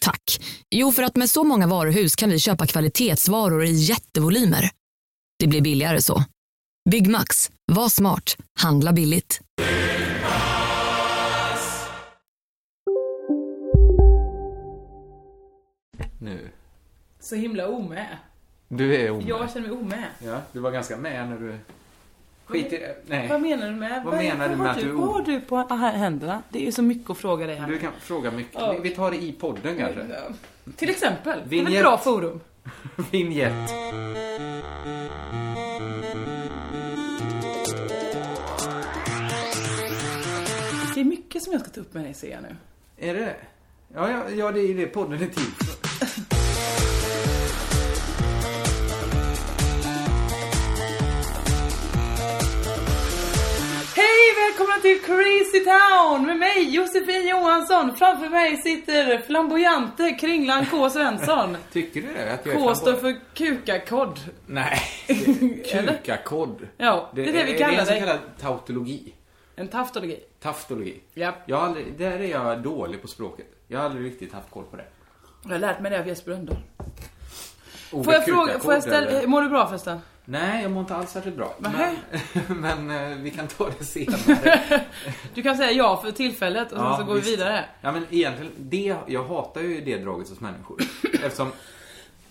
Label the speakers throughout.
Speaker 1: Tack. Jo, för att med så många varuhus kan vi köpa kvalitetsvaror i jättevolymer. Det blir billigare så. Byggmax. Var smart. Handla billigt.
Speaker 2: Nu.
Speaker 3: Så himla omä.
Speaker 2: Du är omä.
Speaker 3: Jag känner mig omä.
Speaker 2: Ja, du var ganska med när du... Skit i...
Speaker 3: Vad
Speaker 2: Nej.
Speaker 3: menar du med?
Speaker 2: Vad menar du med
Speaker 3: har
Speaker 2: att du är
Speaker 3: Vad
Speaker 2: o-
Speaker 3: har du på här händerna? Det är så mycket att fråga dig här.
Speaker 2: Du kan fråga mycket.
Speaker 3: Ja.
Speaker 2: Vi- Vi tar det i podden kanske.
Speaker 3: Till exempel. Det är
Speaker 2: Vignett.
Speaker 3: ett bra forum.
Speaker 2: Vinjett.
Speaker 3: Det är mycket som jag ska ta upp med dig ser jag nu.
Speaker 2: Är det det? Ja, ja, ja, det är det podden är till för.
Speaker 3: Hej! Välkomna till Crazy Town med mig Josefin Johansson. Framför mig sitter flamboyante Kringlan K Svensson.
Speaker 2: Tycker du det? Att jag är
Speaker 3: K står
Speaker 2: flamboyant?
Speaker 3: för kukakodd.
Speaker 2: Nej.
Speaker 3: Eller?
Speaker 2: Kukakodd.
Speaker 3: Ja, det är det vi
Speaker 2: Det är
Speaker 3: kallar
Speaker 2: en så
Speaker 3: dig.
Speaker 2: kallad tautologi.
Speaker 3: En taftologi.
Speaker 2: Taftologi.
Speaker 3: Ja.
Speaker 2: Jag har aldrig, där är jag dålig på språket. Jag har aldrig riktigt haft koll på det.
Speaker 3: Jag har lärt mig det av Jesper Rönndahl.
Speaker 2: Ordet
Speaker 3: Får jag fråga,
Speaker 2: kukakodd,
Speaker 3: får jag
Speaker 2: eller?
Speaker 3: ställa, mår du bra förresten?
Speaker 2: Nej, jag mår inte alls särskilt bra.
Speaker 3: Nähä.
Speaker 2: Men, men eh, vi kan ta det senare.
Speaker 3: Du kan säga ja för tillfället och sen så går
Speaker 2: visst.
Speaker 3: vi vidare.
Speaker 2: Ja, men egentligen, det, jag hatar ju det draget hos människor. Eftersom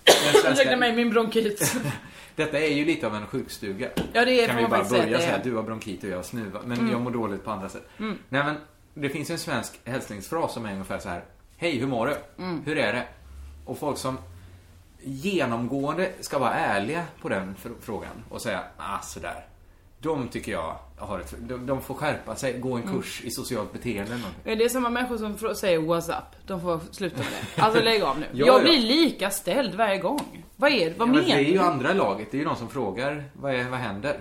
Speaker 2: den
Speaker 3: Ursäkta mig,
Speaker 2: svenska,
Speaker 3: min bronkit.
Speaker 2: detta är ju lite av en sjukstuga.
Speaker 3: Ja, det är-
Speaker 2: kan
Speaker 3: får
Speaker 2: vi
Speaker 3: man
Speaker 2: bara
Speaker 3: faktiskt säga
Speaker 2: börja
Speaker 3: att det
Speaker 2: säga
Speaker 3: är. Mm.
Speaker 2: du har bronkit och jag har snuva. Men jag mår dåligt på andra sätt. Nej, men det finns ju en svensk hälsningsfras som är ungefär så här. Hej, hur mår du?
Speaker 3: Mm.
Speaker 2: Hur är det? Och folk som genomgående ska vara ärliga på den fr- frågan och säga ah, sådär. De tycker jag har ett, de, de får skärpa sig, gå en
Speaker 3: Mm.
Speaker 2: kurs i socialt beteende eller någonting.
Speaker 3: Det är samma människor som frå- säger what's up. De får sluta med det. Alltså lägg av nu.
Speaker 2: Ja,
Speaker 3: jag
Speaker 2: ja.
Speaker 3: blir lika ställd varje gång. Vad är det? Vad
Speaker 2: Ja, men det
Speaker 3: menar
Speaker 2: är ju
Speaker 3: du?
Speaker 2: andra laget. Det är ju de som frågar vad, är, vad händer?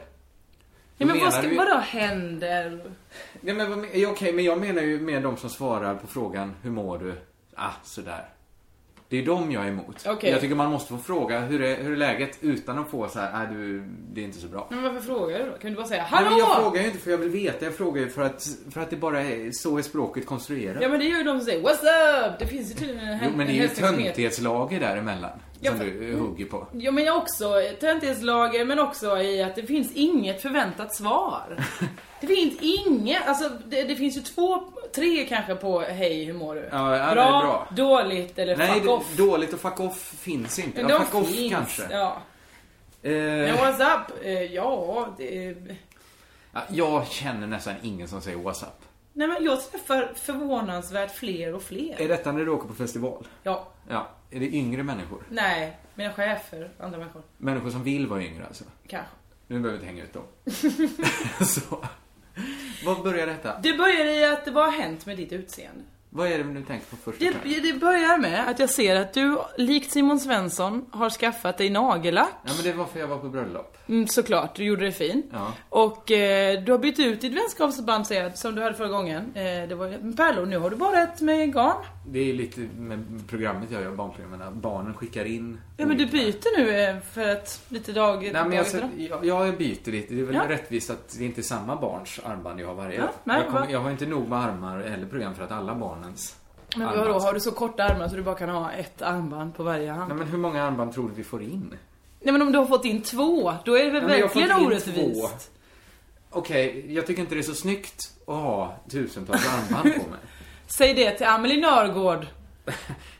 Speaker 3: Ja, men
Speaker 2: menar
Speaker 3: vad ska,
Speaker 2: du-
Speaker 3: vadå händer?
Speaker 2: Nej, men, vad men- ja, okej, men jag menar ju med de som svarar på frågan Hur mår du? Ah, sådär. Det är de jag är emot.
Speaker 3: Okej.
Speaker 2: Jag tycker man måste få fråga hur är, hur är läget utan att få så här, nej du, det är inte så bra.
Speaker 3: Men varför frågar du då? Kan du bara säga
Speaker 2: Nej,
Speaker 3: hallå?
Speaker 2: men jag frågar ju inte för jag vill veta. Jag frågar ju för att, för att det bara är, så är språket konstruerat.
Speaker 3: Ja men det är ju de som säger what's up? Det finns ju tydligen en
Speaker 2: jo, men det är ju ett
Speaker 3: hälsningsmet-
Speaker 2: töntighetslager däremellan.
Speaker 3: Ja,
Speaker 2: som
Speaker 3: men-
Speaker 2: du eh, hugger på.
Speaker 3: Ja men jag också töntighetslager men också i att det finns inget förväntat svar. Det finns inget, alltså det, det finns ju två, tre kanske på hej hur mår du?
Speaker 2: Ja, ja, det är bra.
Speaker 3: dåligt eller
Speaker 2: Nej,
Speaker 3: fuck
Speaker 2: det,
Speaker 3: off.
Speaker 2: dåligt och fuck off finns inte.
Speaker 3: Men
Speaker 2: ja,
Speaker 3: de
Speaker 2: fuck off
Speaker 3: finns,
Speaker 2: kanske.
Speaker 3: Ja.
Speaker 2: Eh,
Speaker 3: Men what's up? Eh, Ja, det... är-
Speaker 2: Ja, Jag känner nästan ingen som säger WhatsApp.
Speaker 3: Nej men jag träffar förvånansvärt fler och
Speaker 2: Är
Speaker 3: fler.
Speaker 2: detta när du åker på festival?
Speaker 3: Ja,
Speaker 2: Ja. Är det yngre människor?
Speaker 3: nej. Mina chefer, andra människor.
Speaker 2: Människor som vill vara yngre alltså?
Speaker 3: Kanske.
Speaker 2: Nu behöver vi inte hänga ut dem. Så. Vad börjar detta?
Speaker 3: Det börjar i att vad har hänt med ditt utseende?
Speaker 2: Vad är det du tänker på först? och
Speaker 3: Det,
Speaker 2: främst?
Speaker 3: det börjar med att jag ser att du, likt Simon Svensson, har skaffat dig nagellack.
Speaker 2: Ja, men det var för jag var på bröllop.
Speaker 3: Mm, såklart, du gjorde det fint.
Speaker 2: Ja.
Speaker 3: Och eh, du har bytt ut ditt vänskapsband säger jag, som du hade förra gången. Eh, det var ju med pärlor, nu har du bara ett med garn.
Speaker 2: Det är lite med programmet jag gör, barnprogrammen. att Barnen skickar in...
Speaker 3: Ja men du byter nu eh, för att lite dag...
Speaker 2: Nej, men jag,
Speaker 3: dag efter dag.
Speaker 2: jag, jag byter lite. Det är väl
Speaker 3: Ja.
Speaker 2: rättvist att det inte är samma barns armband jag har varje
Speaker 3: Ja,
Speaker 2: dag.
Speaker 3: nej,
Speaker 2: jag, kommer,
Speaker 3: vad-
Speaker 2: jag har inte nog med armar eller program för att alla barnens
Speaker 3: Men
Speaker 2: armband
Speaker 3: vadå,
Speaker 2: ska-
Speaker 3: har du så korta armar så du bara kan ha ett armband på varje hand?
Speaker 2: Nej, men hur många armband tror du vi får in?
Speaker 3: Nej men om du har fått in två, då är det väl
Speaker 2: men jag har
Speaker 3: verkligen
Speaker 2: fått in
Speaker 3: orättvist?
Speaker 2: Okej, jag tycker inte det är så snyggt att ha tusentals armband på mig.
Speaker 3: Säg det till Amelie Nörgård.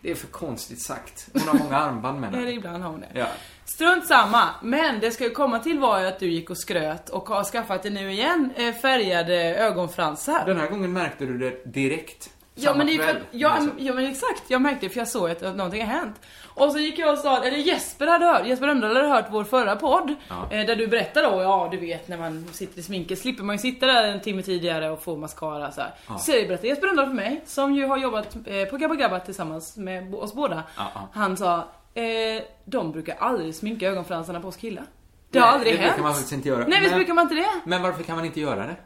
Speaker 2: Det är för konstigt sagt. Hon har många armband med
Speaker 3: Eller
Speaker 2: henne.
Speaker 3: ibland har hon det.
Speaker 2: Ja.
Speaker 3: Strunt samma, men det ska ju komma till var ju att du gick och skröt och har skaffat dig nu igen eh, färgade ögonfransar.
Speaker 2: Den här gången märkte du det direkt.
Speaker 3: Ja men, det är ju
Speaker 2: Samma
Speaker 3: för,
Speaker 2: kväll,
Speaker 3: ja,
Speaker 2: alltså.
Speaker 3: ja men exakt, jag märkte för jag såg att att någonting har hänt. Och så gick jag och sa, eller Jesper hade hört, Jesper Rönndahl hade hört vår förra podd.
Speaker 2: Ja.
Speaker 3: Eh, där du berättade då, ja du vet när man sitter i sminket slipper man ju sitta där en timme tidigare och få mascara så här.
Speaker 2: Ja.
Speaker 3: Så berättade Jesper Rönndahl för mig, som ju har jobbat eh, på Gabba Gabba tillsammans med bo- oss båda.
Speaker 2: Ja, ja.
Speaker 3: Han sa, eh, de brukar aldrig sminka ögonfransarna på oss killar. Det har
Speaker 2: Nej,
Speaker 3: aldrig
Speaker 2: det
Speaker 3: hänt.
Speaker 2: brukar man faktiskt inte göra.
Speaker 3: Nej visst
Speaker 2: Men-
Speaker 3: brukar man inte det?
Speaker 2: Men varför kan man inte göra det?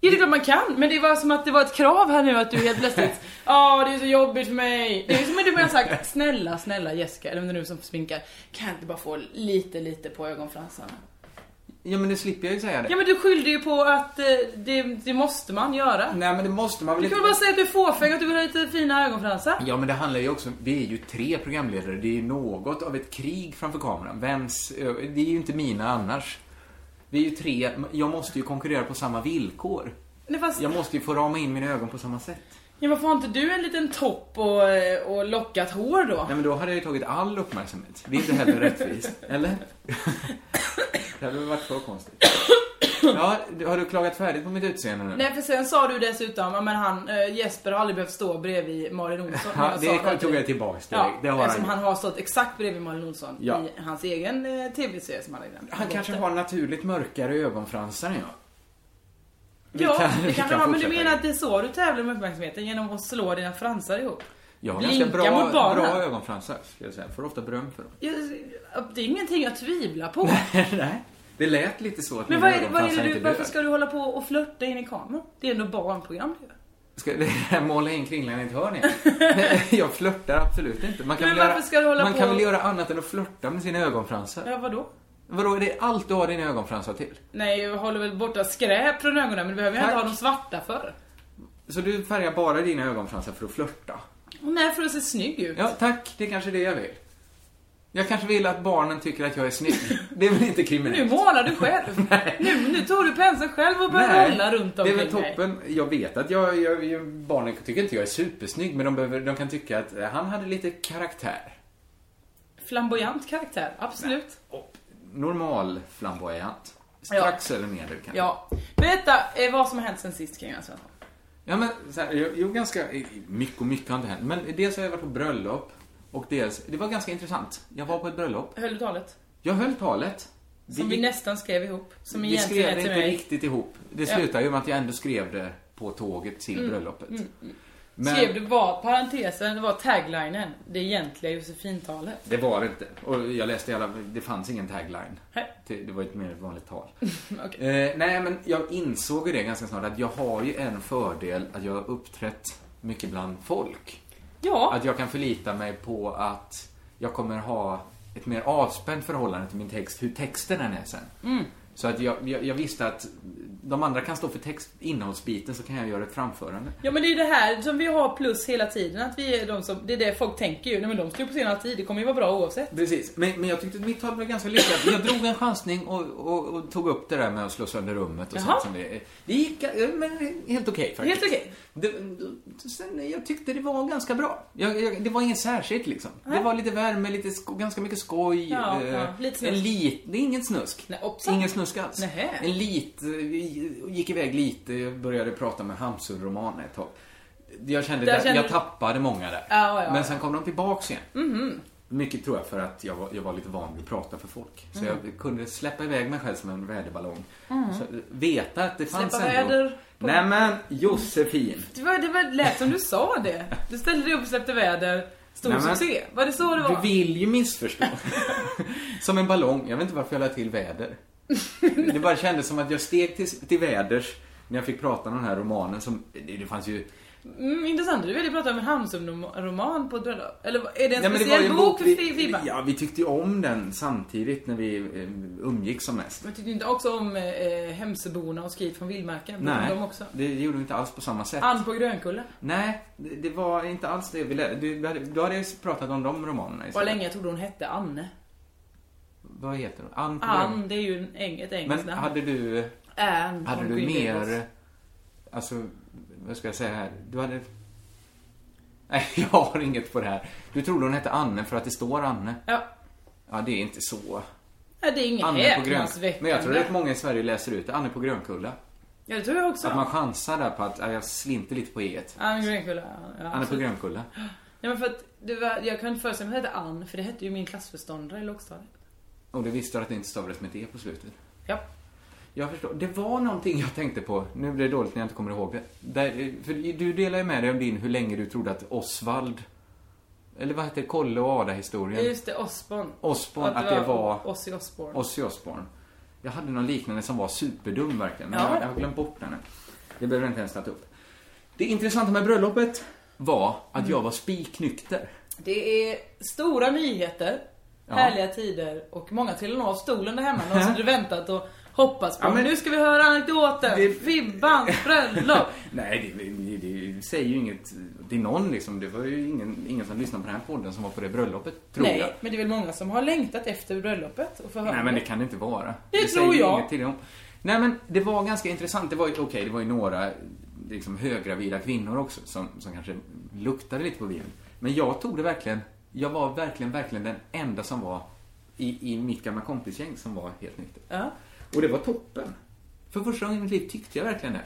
Speaker 3: Ja det är klart man kan, men det var som att det var ett krav här nu att du helt plötsligt Ja det är så jobbigt för mig. Det är som att du bara sagt snälla snälla Jessica, eller om det är du som sminkar, kan jag inte bara få lite lite på ögonfransarna?
Speaker 2: Ja men nu slipper jag ju säga det.
Speaker 3: Ja men du skyllde ju på att eh, det, det måste man göra.
Speaker 2: Nej men det måste man väl
Speaker 3: Du
Speaker 2: inte...
Speaker 3: kan väl bara säga att du är fåfäng och att du vill ha lite fina ögonfransar?
Speaker 2: Ja men det handlar ju också om, vi är ju tre programledare, det är ju något av ett krig framför kameran. Vems, ö, det är ju inte mina annars. Vi är ju tre, jag måste ju konkurrera på samma villkor.
Speaker 3: Nej fast, ja
Speaker 2: Jag måste ju få rama in mina ögon på samma sätt.
Speaker 3: men varför har inte du en liten topp och, eh, och lockat hår då?
Speaker 2: Nej men då hade jag ju tagit all uppmärksamhet. Det är inte heller rättvist, eller? Det hade väl varit för konstigt. Ja, du- har du klagat färdigt på mitt utseende nu?
Speaker 3: Nej för sen sa du dessutom, ja men han, eh, Jesper har aldrig behövt stå bredvid Malin Olsson.
Speaker 2: Ja,
Speaker 3: Men jag
Speaker 2: det
Speaker 3: sa till
Speaker 2: tog
Speaker 3: dig.
Speaker 2: jag tillbaks direkt.
Speaker 3: Ja,
Speaker 2: det har han,
Speaker 3: eftersom
Speaker 2: gjort.
Speaker 3: han har stått exakt bredvid Malin Olsson
Speaker 2: Ja.
Speaker 3: i hans egen eh, tv-serie som han har glömt.
Speaker 2: Han kanske har naturligt mörkare ögonfransar än jag. Vi
Speaker 3: Ja,
Speaker 2: vi
Speaker 3: det kan han ha, men du
Speaker 2: fortsätta.
Speaker 3: menar att det är så du tävlar med uppmärksamheten? Genom att slå dina fransar ihop?
Speaker 2: Jag har
Speaker 3: Blinka
Speaker 2: ganska bra,
Speaker 3: mot barnen.
Speaker 2: bra ögonfransar, ska jag säga. Får ofta beröm för dem.
Speaker 3: Jag, eh, det är ingenting jag tvivlar på.
Speaker 2: Nej. Det lät lite så att
Speaker 3: Men
Speaker 2: mina
Speaker 3: vad är, det- vad är det
Speaker 2: ögonfransar
Speaker 3: du,
Speaker 2: inte
Speaker 3: varför
Speaker 2: dör.
Speaker 3: ska du hålla på och flörta in i kameran? Det är ändå barnprogram du gör.
Speaker 2: Ska det måla in kringlan i ett hörn igen? Jag flörtar absolut inte. Man kan,
Speaker 3: Men
Speaker 2: väl,
Speaker 3: varför
Speaker 2: göra,
Speaker 3: ska du hålla
Speaker 2: man
Speaker 3: på
Speaker 2: kan
Speaker 3: och-
Speaker 2: väl göra annat än att flörta med sina ögonfransar?
Speaker 3: Ja, vadå?
Speaker 2: Vadå, är det allt du har dina ögonfransar till?
Speaker 3: Nej, jag håller väl borta skräp från ögonen, men det behöver jag
Speaker 2: Tack.
Speaker 3: inte ha de svarta för.
Speaker 2: Så du färgar bara dina ögonfransar för att flörta?
Speaker 3: Nej, för att se snygg ut.
Speaker 2: Ja, tack. Det är kanske det jag vill. Jag kanske vill att barnen tycker att jag är snygg. Det är väl inte
Speaker 3: Nu
Speaker 2: kriminellt?
Speaker 3: målar du själv. nu, nu tog du penseln själv och började
Speaker 2: Nej,
Speaker 3: rulla runt
Speaker 2: det är
Speaker 3: omkring
Speaker 2: väl
Speaker 3: dig.
Speaker 2: toppen. Jag vet att jag, jag, jag, barnen tycker inte jag är supersnygg, men de, behöver, de kan tycka att eh, han hade lite karaktär.
Speaker 3: Flamboyant karaktär, absolut.
Speaker 2: Och normal flamboyant. Strax över medel kanske.
Speaker 3: Ja. Berätta eh, vad som har hänt sen sist kring Svensson.
Speaker 2: Ja, men så här, jo, jo, ganska mycket och mycket har inte hänt. Men dels har jag varit på bröllop och dels, det var ganska intressant. Jag var på ett bröllop.
Speaker 3: Höll du talet?
Speaker 2: Jag höll talet.
Speaker 3: Som vi,
Speaker 2: gick-
Speaker 3: nästan skrev ihop. Som
Speaker 2: vi
Speaker 3: egentligen
Speaker 2: skrev
Speaker 3: är
Speaker 2: det
Speaker 3: till
Speaker 2: inte
Speaker 3: mig.
Speaker 2: riktigt ihop. Det
Speaker 3: Ja. Mm,
Speaker 2: slutade ju med att jag ändå skrev det på tåget till bröllopet. Men
Speaker 3: Skrev du var parentesen, det var taglinen. Det egentliga Josefintalet.
Speaker 2: det var det inte. Och jag läste i alla, det fanns ingen tagline.
Speaker 3: Nej.
Speaker 2: Det det var ett mer vanligt tal.
Speaker 3: Mm, Okej.
Speaker 2: Eh, nej, men jag insåg ju det ganska snart att jag har ju en fördel att jag har uppträtt mycket bland folk.
Speaker 3: Ja,
Speaker 2: Att jag kan förlita mig på att jag kommer ha ett mer avspänt förhållande till min text, hur texten än är sen. Så att jag, jag, jag visste att de andra kan stå för text, innehållsbiten så kan jag göra ett framförande.
Speaker 3: ja men det är det här som vi har plus hela tiden. Att vi är de som, det är det folk tänker ju. Nej men de står ju på scenen alltid. Det kommer ju vara bra oavsett.
Speaker 2: Precis, men, men jag tyckte att mitt tal var ganska lyckat. Jag drog en chansning och, och, och tog upp det där med att slå sönder rummet och
Speaker 3: Jaha.
Speaker 2: sånt som det, det gick eh, men helt okej faktiskt.
Speaker 3: Helt okej.
Speaker 2: Det- Sen, jag tyckte det var ganska bra. Jag, jag, det var inget särskilt liksom. Det var lite värme, lite sko, ganska mycket skoj.
Speaker 3: Ja,
Speaker 2: eh,
Speaker 3: ja, lite snusk.
Speaker 2: En lit, det är inget snusk.
Speaker 3: Nej, hoppsan.
Speaker 2: Ingen snusk alls.
Speaker 3: Nähä.
Speaker 2: En lit, eh, gick iväg lite, jag började prata med Hamsun-romaner ett tag. Jag kände,
Speaker 3: Där
Speaker 2: där,
Speaker 3: kände
Speaker 2: jag
Speaker 3: du-
Speaker 2: tappade många där.
Speaker 3: Ja, ja, Mm.
Speaker 2: Men
Speaker 3: ja.
Speaker 2: sen kom de tillbaks igen. Mycket tror jag för att jag var, jag var lite van vid att prata för folk. Så
Speaker 3: Mm.
Speaker 2: jag kunde släppa iväg mig själv som en väderballong. Så, veta att det fanns
Speaker 3: Släppa
Speaker 2: ändå...
Speaker 3: Mm. väder på-
Speaker 2: Nej men Josefin.
Speaker 3: Det, var, det var, lät som du sa det. Du ställde dig upp och släppte väder. Stor
Speaker 2: Nej, men-
Speaker 3: succé. Var det så det var?
Speaker 2: Du vill ju missförstå. som en ballong. Jag vet inte varför jag lade till väder. det bara kändes som att jag steg till, till väders när jag fick prata om den här romanen som... Det, det fanns ju...
Speaker 3: Mm, intressant, du ville prata om en Hamsun-roman på ett bröllop. Eller är det en
Speaker 2: Ja, men det var
Speaker 3: speciell
Speaker 2: ju en
Speaker 3: bok för
Speaker 2: vi-
Speaker 3: Fi- Fibban?
Speaker 2: Ja, vi tyckte ju om den samtidigt när vi eh, umgicks som mest.
Speaker 3: Men tyckte du inte också om eh, Hemsöborna och Skriet från vildmarken?
Speaker 2: Nej,
Speaker 3: De också.
Speaker 2: det gjorde vi inte alls på samma sätt.
Speaker 3: Ann på Grönkulla.
Speaker 2: Nej, det, det var inte alls det vi lärde. Du, du hade- då hade jag ju pratat om de romanerna
Speaker 3: Vad
Speaker 2: istället.
Speaker 3: länge jag trodde hon hette Anne.
Speaker 2: Vad heter hon? Ann på Grön.
Speaker 3: Ann, det är ju en eng, ett engelskt
Speaker 2: Men
Speaker 3: namn.
Speaker 2: hade du...
Speaker 3: Ann
Speaker 2: Hade
Speaker 3: från
Speaker 2: du
Speaker 3: Green
Speaker 2: mer...
Speaker 3: Gables.
Speaker 2: Alltså, vad ska jag säga här? Du hade... Nej, jag har inget på det här. Du trodde hon hette Anne för att det står Anne.
Speaker 3: Ja.
Speaker 2: Ja, det är inte så.
Speaker 3: Nej, det är inget
Speaker 2: Anne på Grön...
Speaker 3: häpnadsväckande.
Speaker 2: Men jag tror att många i Sverige läser ut det. Anne på Grönkulla.
Speaker 3: Ja, det tror jag också.
Speaker 2: Att man chansar där på att ja, jag slinter lite på eget.
Speaker 3: Ann Grönkulla. Ja,
Speaker 2: Han är på
Speaker 3: absolut.
Speaker 2: Grönkulla.
Speaker 3: ja, men för att det var, jag kunde inte föreställa mig att det hette Ann, för det hette ju min klassförståndare i lågstadiet.
Speaker 2: Och det visste du att det inte stavades med ett E på slutet.
Speaker 3: Ja.
Speaker 2: Jag förstår. Det var någonting jag tänkte på. Nu blir det dåligt när jag inte kommer ihåg det. Där, för du delar ju med dig om din hur länge du trodde att Osvald eller vad hette det? Kolle och Ada-historien.
Speaker 3: Just det, Osborn.
Speaker 2: Osborn, att det var
Speaker 3: Ozzy Osborn.
Speaker 2: Ozzy Osbourne. Jag hade någon liknande som var superdum verkligen. Men
Speaker 3: Ja.
Speaker 2: jag, jag har glömt bort den. nu. Det behöver jag inte ens ta upp. Det intressanta med bröllopet var att jag var spiknykter.
Speaker 3: Det är stora nyheter,
Speaker 2: Ja.
Speaker 3: härliga tider och många trillar av stolen där hemma. Någon som hade väntat och hoppats på.
Speaker 2: Ja, men-
Speaker 3: men nu ska vi höra anekdoten.
Speaker 2: Det-
Speaker 3: Fibbans bröllop.
Speaker 2: Nej, det, det, det säger ju inget till någon liksom. Det var ju ingen, ingen som lyssnade på den här podden som var på det bröllopet, tror jag.
Speaker 3: Nej, men det är väl många som har längtat efter bröllopet och få höra.
Speaker 2: Nej, men det kan det inte vara.
Speaker 3: Det tror
Speaker 2: säger ju
Speaker 3: jag.
Speaker 2: inget till dem. Nej, men det var ganska intressant. Det var ju, okej, det var ju några liksom, höggravida kvinnor också som, som kanske luktade lite på vin. Men jag tog det verkligen, jag var verkligen, verkligen den enda som var i, i mitt gamla kompisgäng som var helt nykter.
Speaker 3: Ja.
Speaker 2: Och det var toppen. För första gången i mitt liv tyckte jag verkligen det.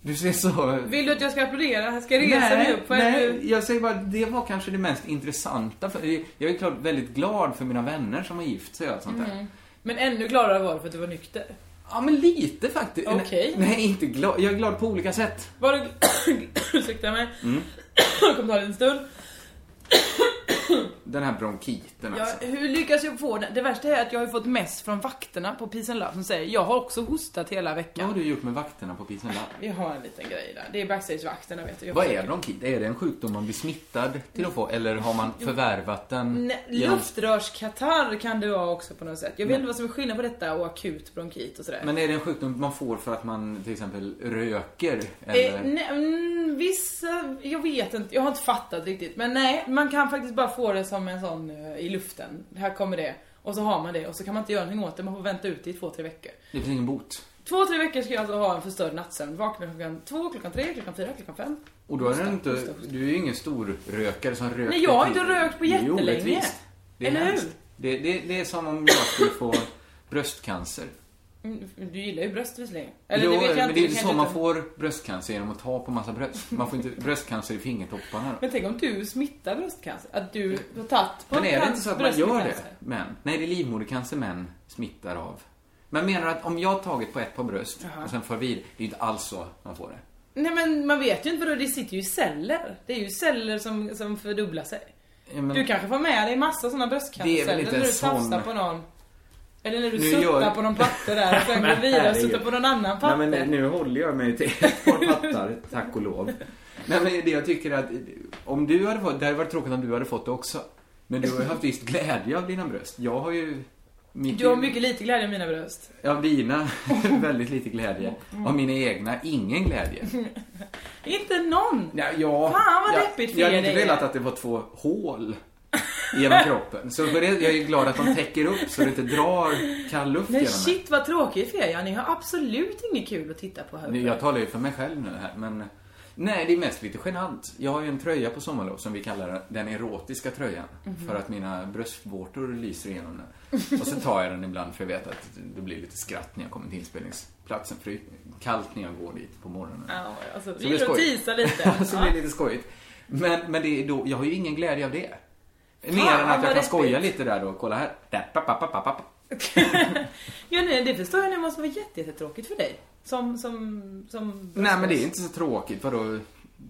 Speaker 2: Du ser så...
Speaker 3: Vill du att jag ska applådera? Ska jag resa mig upp? Vad är det du-
Speaker 2: nej, jag säger bara, det var kanske det mest intressanta. För, jag är klart väldigt glad för mina vänner som har gift sig och allt sånt där.
Speaker 3: Mm. Men ännu gladare var du för att du var nykter.
Speaker 2: Ja, men lite faktiskt.
Speaker 3: Okej.
Speaker 2: Nej, nej, inte glad. Jag är glad på olika sätt.
Speaker 3: Var du... Ursäkta mig.
Speaker 2: Mm.
Speaker 3: Jag kommer ta det en stund.
Speaker 2: Den här bronkiten
Speaker 3: Jag,
Speaker 2: alltså.
Speaker 3: hur lyckas jag få den? Det värsta är att jag har ju fått mest från vakterna på Peace and Love som säger jag har också hostat hela
Speaker 2: Vad
Speaker 3: veckan.
Speaker 2: har du gjort med vakterna på Peace and Love?
Speaker 3: Vi har en liten grej där. Det är backstagevakterna vet du. Jag
Speaker 2: Vad är bronkit? Är det en sjukdom man blir smittad till att få? Eller har man förvärvat den?
Speaker 3: Nej,
Speaker 2: genom-
Speaker 3: luftrörskatarr kan det vara också på något sätt. Jag vet inte vad som är skillnad på detta och akut bronkit och sådär.
Speaker 2: Men är det en sjukdom man får för att man till exempel röker? Eller?
Speaker 3: Eh, nej, mm, vissa, jag vet inte, jag har inte fattat riktigt. Men nej, man kan faktiskt bara få det som en sån eh, i luften. Här kommer det. Och så har man det och så kan man inte göra någonting åt det, man får vänta ut det i två, tre veckor.
Speaker 2: Det finns ingen bot.
Speaker 3: Två, tre veckor ska jag alltså ha en förstörd nattsömn. Vakna klockan två, klockan tre, klockan fyra, klockan fem.
Speaker 2: Och då är
Speaker 3: Hosta,
Speaker 2: du inte,
Speaker 3: hosta, hosta.
Speaker 2: du är ju ingen stor rökare som röker.
Speaker 3: Nej, jag har
Speaker 2: till-
Speaker 3: inte rökt på
Speaker 2: Det är
Speaker 3: jättelänge.
Speaker 2: orättvist. Det är
Speaker 3: Eller hur?
Speaker 2: hemskt. Det, det, det är som om jag skulle få bröstcancer.
Speaker 3: Mm, Du gillar ju bröst visserligen. Eller
Speaker 2: jo,
Speaker 3: det vet jag
Speaker 2: men
Speaker 3: inte.
Speaker 2: det är
Speaker 3: kan
Speaker 2: ju
Speaker 3: jag
Speaker 2: så
Speaker 3: inte
Speaker 2: man
Speaker 3: uttala-
Speaker 2: får bröstcancer genom att ta på massa bröst. Man får inte bröstcancer i fingertopparna. då.
Speaker 3: Men tänk om du smittar bröstcancer? Att du har tagit på
Speaker 2: Men är det
Speaker 3: bröst-
Speaker 2: inte så att man gör det?
Speaker 3: bröstcancer?
Speaker 2: Män? Nej, det är livmodercancer män smittar av. Men menar du att om jag har tagit på ett par bröst och sen för vid, det är inte alls så man får det.
Speaker 3: Nej men man vet ju inte vadå, det sitter ju i celler. Det är ju celler som, som fördubblar sig.
Speaker 2: Ja, men-
Speaker 3: Du kanske får med dig massa sådana
Speaker 2: Det är väl
Speaker 3: bröstcancerceller
Speaker 2: inte
Speaker 3: när du
Speaker 2: en sån-
Speaker 3: tafsar på någon. Eller när du
Speaker 2: Nu
Speaker 3: suttar
Speaker 2: gör-
Speaker 3: på någon patte där och sen går vidare och suttar på någon annan patte.
Speaker 2: Nej, men nu håller jag mig till ett par pattar, tack och lov. Nej, men det jag tycker är att om du hade fått, det hade varit tråkigt om du hade fått det också. Men du har ju haft viss glädje av dina bröst. Jag har ju... Mitt,
Speaker 3: Du har mycket lite glädje i mina bröst.
Speaker 2: Av dina, väldigt lite glädje. Av mina egna, ingen glädje.
Speaker 3: Inte någon!
Speaker 2: Ja, ja,
Speaker 3: Fan, vad
Speaker 2: jag,
Speaker 3: deppigt för
Speaker 2: Jag
Speaker 3: er
Speaker 2: hade inte
Speaker 3: det är.
Speaker 2: velat att det var två hål genom kroppen. Så för det, jag är glad att de täcker upp så det inte drar kall luft
Speaker 3: Nej
Speaker 2: genom mig.
Speaker 3: shit vad tråkigt för er, ja. ni har absolut inget kul att titta på här uppe.
Speaker 2: Nu, Jag talar ju för mig själv nu här, men... Nej, det är mest lite genant. Jag har ju en tröja på sommarlov som vi kallar den erotiska tröjan.
Speaker 3: Mhm.
Speaker 2: För att mina bröstvårtor lyser igenom den. Och så tar jag den ibland för jag vet att det blir lite skratt när jag kommer till inspelningsplatsen. För det är kallt när jag går dit på morgonen.
Speaker 3: Ja, alltså,
Speaker 2: Så det
Speaker 3: vi
Speaker 2: är
Speaker 3: gillar att
Speaker 2: skoj.
Speaker 3: tisa lite.
Speaker 2: Ja, så blir
Speaker 3: Ja.
Speaker 2: det lite skojigt. Men, men det är då, jag har ju ingen glädje av det. Mer
Speaker 3: Fan,
Speaker 2: än att
Speaker 3: vad
Speaker 2: jag kan
Speaker 3: deppigt.
Speaker 2: skoja lite där då. Kolla här. Där, papp, papp, papp, papp, papp.
Speaker 3: ja, nej, det förstår jag, det måste vara jätte- jättetråkigt för dig. Som, som, som...
Speaker 2: Nej men det är inte så tråkigt. Vadå?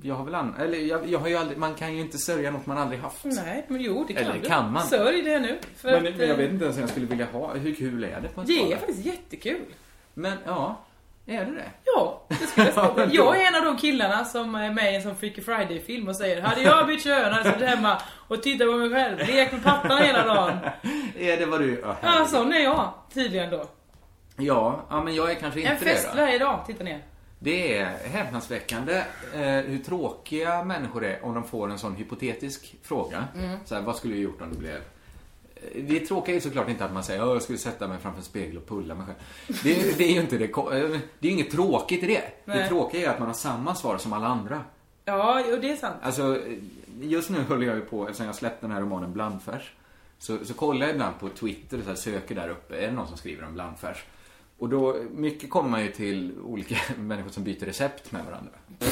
Speaker 2: Jag har väl an... Eller jag, jag har ju aldrig... Man kan ju inte sörja något man aldrig haft.
Speaker 3: Nej, men jo det kan
Speaker 2: Eller
Speaker 3: du.
Speaker 2: kan man?
Speaker 3: Sörj det nu. För
Speaker 2: Men,
Speaker 3: att,
Speaker 2: men jag
Speaker 3: eh,
Speaker 2: vet inte ens om jag skulle vilja ha. Hur kul är det på en
Speaker 3: Det
Speaker 2: skala?
Speaker 3: är faktiskt jättekul.
Speaker 2: Men ja, är det det?
Speaker 3: Ja, det skulle jag
Speaker 2: Ja,
Speaker 3: säga.
Speaker 2: men då.
Speaker 3: Jag är en av de killarna som är med i en sån Freaky Friday-film och säger Hade jag bytt kön hade jag suttit hemma och tittat på mig själv, lekt med pappan hela dagen.
Speaker 2: Är det vad du... Ja,
Speaker 3: Ja, sån är jag tydligen då.
Speaker 2: ja, ja, men jag är kanske inte
Speaker 3: En fest
Speaker 2: det då.
Speaker 3: varje dag, titta ner.
Speaker 2: Det är häpnadsväckande eh, hur tråkiga människor är om de får en sån hypotetisk fråga.
Speaker 3: Mm.
Speaker 2: Så här, vad skulle du gjort om du blev... Eh, Det tråkiga är ju såklart inte att man säger att jag skulle sätta mig framför en spegel och pulla mig själv. Det, är- det är ju inte det. ko- eh, Det är ju inget tråkigt i det. Det
Speaker 3: Nej.
Speaker 2: tråkiga är att man har samma svar som alla andra.
Speaker 3: Ja, och det är sant.
Speaker 2: Alltså, eh, just nu håller jag ju på, eftersom jag släppte den här romanen Blandfärs, så, så kollar jag ibland på Twitter och så här, söker där uppe, är det någon som skriver om blandfärs? Och då, mycket kommer man ju till olika människor som byter recept med varandra.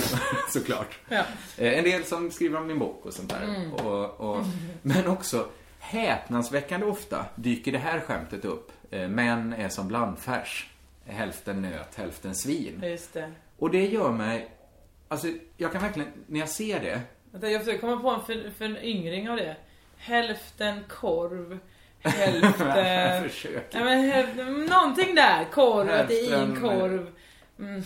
Speaker 2: Såklart.
Speaker 3: Ja.
Speaker 2: Eh, En del som skriver om min bok och sånt där. Och, och, men också häpnadsväckande ofta dyker det här skämtet upp. Eh, Män är som blandfärs. Hälften nöt, hälften svin.
Speaker 3: Just det.
Speaker 2: Och det gör mig... Alltså, jag kan verkligen... När jag ser det...
Speaker 3: Vänta, jag försöker komma på en för, för en yngring av det. Hälften korv, hälften...
Speaker 2: försöker.
Speaker 3: Nej, men, hälften- någonting där. Korv, att det är i en
Speaker 2: Hälften,
Speaker 3: korv.
Speaker 2: Nej,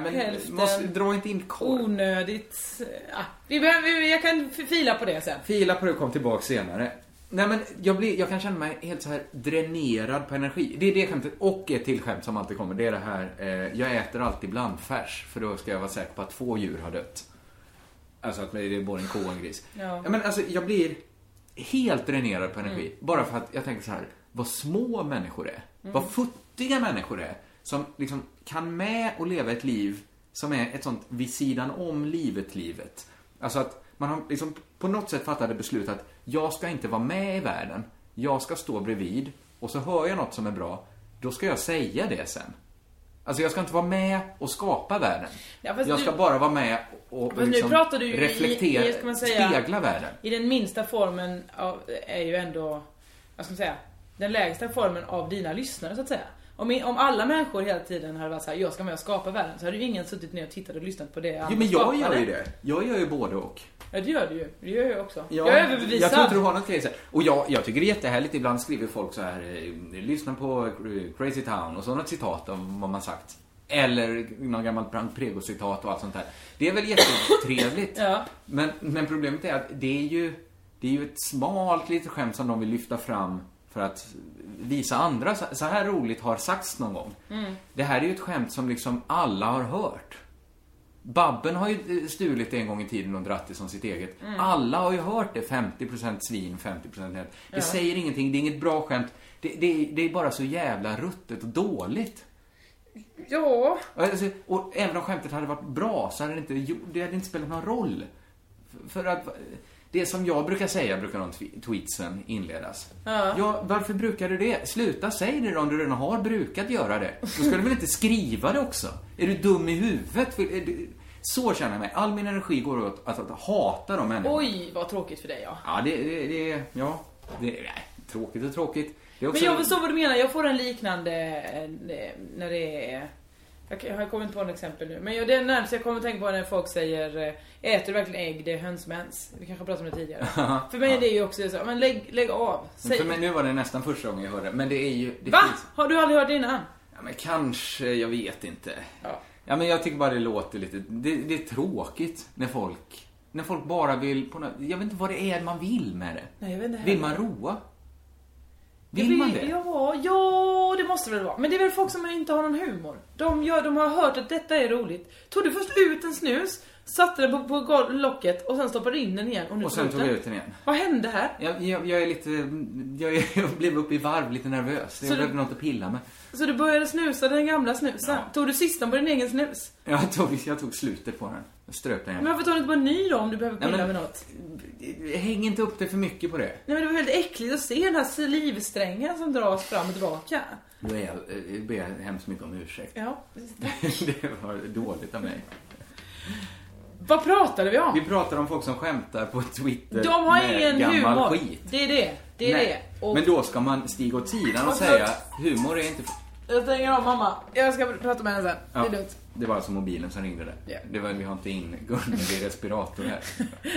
Speaker 2: men
Speaker 3: Hälften. Oh,
Speaker 2: måste, dra inte in korv.
Speaker 3: Onödigt. Ah, vi behöver, vi- jag kan f- fila på det sen.
Speaker 2: Fila på det och kom tillbaka senare. Nej men jag, blir, jag kan känna mig helt så här dränerad på energi. Det är det skämtet och ett till skämt som alltid kommer. Det är det här, eh, jag äter alltid blandfärs för då ska jag vara säker på att två djur har dött. Alltså att det är både en ko och en gris.
Speaker 3: Ja. Mm.
Speaker 2: men alltså jag blir helt dränerad på energi. Bara för att jag tänker så här, vad små människor är. Vad futtiga människor är. Som liksom kan med och leva ett liv som är ett sånt vid sidan om livet-livet. Alltså att man har liksom på något sätt fattat ett beslut att jag ska inte vara med i världen. Jag ska stå bredvid och så hör jag något som är bra. Då ska jag säga det sen. Alltså jag ska inte vara med och skapa världen.
Speaker 3: Ja, fast
Speaker 2: jag
Speaker 3: du-
Speaker 2: ska bara vara med och, och
Speaker 3: Fast nu
Speaker 2: liksom
Speaker 3: pratar du ju i-
Speaker 2: reflektera,
Speaker 3: i- ska man säga-
Speaker 2: spegla världen.
Speaker 3: I den minsta formen av, är ju ändå, vad ska man säga, den lägsta formen av dina lyssnare så att säga. Om, i- om alla människor hela tiden hade varit så här, jag ska med och skapa världen, så hade ju ingen suttit ner och tittat och lyssnat på det
Speaker 2: Jo,
Speaker 3: andra
Speaker 2: men jag
Speaker 3: skapade.
Speaker 2: gör ju det. Jag gör ju både och.
Speaker 3: Ja det gör du ju, det gör jag också.
Speaker 2: Ja,
Speaker 3: jag är överbevisad.
Speaker 2: Jag tror inte du har något grej så här. Och jag, jag tycker det är jättehärligt. Ibland skriver folk så här, eh, lyssna på eh, Crazy Town och så något citat av vad man sagt. Eller någon gammal Brandt Prego-citat och allt sånt där. Det är väl jättetrevligt.
Speaker 3: Ja.
Speaker 2: men, men problemet är att det är ju, det är ju ett smalt litet skämt som de vill lyfta fram för att visa andra. Så- Så här roligt har sagts någon gång.
Speaker 3: Mm.
Speaker 2: Det här är ju ett skämt som liksom alla har hört. Babben har ju eh, stulit det en gång i tiden och dratt det som sitt eget. Alla har ju hört det. 50% svin, 50% nät. Det säger ingenting, det är inget bra skämt. Det, det, är- det är bara så jävla ruttet och dåligt.
Speaker 3: Ja.
Speaker 2: Alltså, och även om skämtet hade varit bra så hade det inte, jo- det hade inte spelat någon roll. F- För att det som jag brukar säga brukar de twe- tweetsen inledas.
Speaker 3: Ja.
Speaker 2: varför brukar du det? Sluta säg det då om du redan har brukat göra det. Då ska du väl inte skriva det också? Är du dum i huvudet? För- är du- Så känner jag mig. All min energi går åt att, att hata de människorna.
Speaker 3: Oj, vad tråkigt för dig ja.
Speaker 2: Ja, det, det, det, ja. Det, nej, tråkigt och tråkigt. Det är också...
Speaker 3: Men jag förstår vad du menar, jag får en liknande eh, när det är... Jag kan- jag kommer inte på något exempel nu, men jag- det är närmast jag kommer att tänka på när folk säger eh, Äter du verkligen ägg? Det är hönsmens. Vi kanske pratade om det tidigare. för mig är det ju också så, men lägg, lägg av. Säg.
Speaker 2: För mig, nu var det nästan första gången jag hörde det, men det är ju... Det
Speaker 3: Va?
Speaker 2: finns-
Speaker 3: Har du aldrig hört det innan?
Speaker 2: Ja, men kanske, jag vet inte.
Speaker 3: Ja.
Speaker 2: Ja, men jag tycker bara det låter lite... Det, det är tråkigt när folk... När folk bara vill... På något, jag vet inte vad det är man vill med det.
Speaker 3: Nej, jag vet inte heller.
Speaker 2: Vill man roa? Vill
Speaker 3: Ja,
Speaker 2: man det?
Speaker 3: Ja, ja, det måste det väl vara. Men det är väl folk som inte har någon humor. De, gör, de har hört att detta är roligt. Tog du först ut en snus, satte den på, på gol- locket och sen stoppade in den igen och nu
Speaker 2: Och sen
Speaker 3: tar
Speaker 2: tog jag ut den igen.
Speaker 3: Vad hände här?
Speaker 2: Jag, jag, jag är lite... Jag, är, jag blev uppe i varv, lite nervös. Jag
Speaker 3: Så du-
Speaker 2: behövde något att pilla med.
Speaker 3: Så du började snusa den gamla snusen? Tog du sistan på din egen snus?
Speaker 2: Jag tog, jag tog slutet på den. Jag ströp den igen.
Speaker 3: Men varför tar du inte bara en ny då om du behöver
Speaker 2: Nej,
Speaker 3: pilla
Speaker 2: men-
Speaker 3: med något?
Speaker 2: Häng inte upp dig för mycket på det.
Speaker 3: Nej men det var väldigt äckligt att se den här salivsträngen som dras fram och tillbaka.
Speaker 2: Då är jag, eh, ber jag hemskt mycket om ursäkt.
Speaker 3: Ja.
Speaker 2: det var dåligt av mig.
Speaker 3: Vad pratade vi om?
Speaker 2: Vi pratar om folk som skämtar på Twitter
Speaker 3: De har
Speaker 2: med
Speaker 3: ingen
Speaker 2: gammal
Speaker 3: humor.
Speaker 2: skit.
Speaker 3: Det är det. Det är
Speaker 2: Nej.
Speaker 3: det. Och Alltså-
Speaker 2: Men då ska man stiga åt sidan och
Speaker 3: Och
Speaker 2: säga humor är inte...
Speaker 3: Jag stänger av mamma. Jag ska prata med henne sen.
Speaker 2: Ja,
Speaker 3: Det är lugnt.
Speaker 2: det var alltså mobilen som ringde där.
Speaker 3: Ja.
Speaker 2: Det var, vi har inte in Gunnel i respirator här.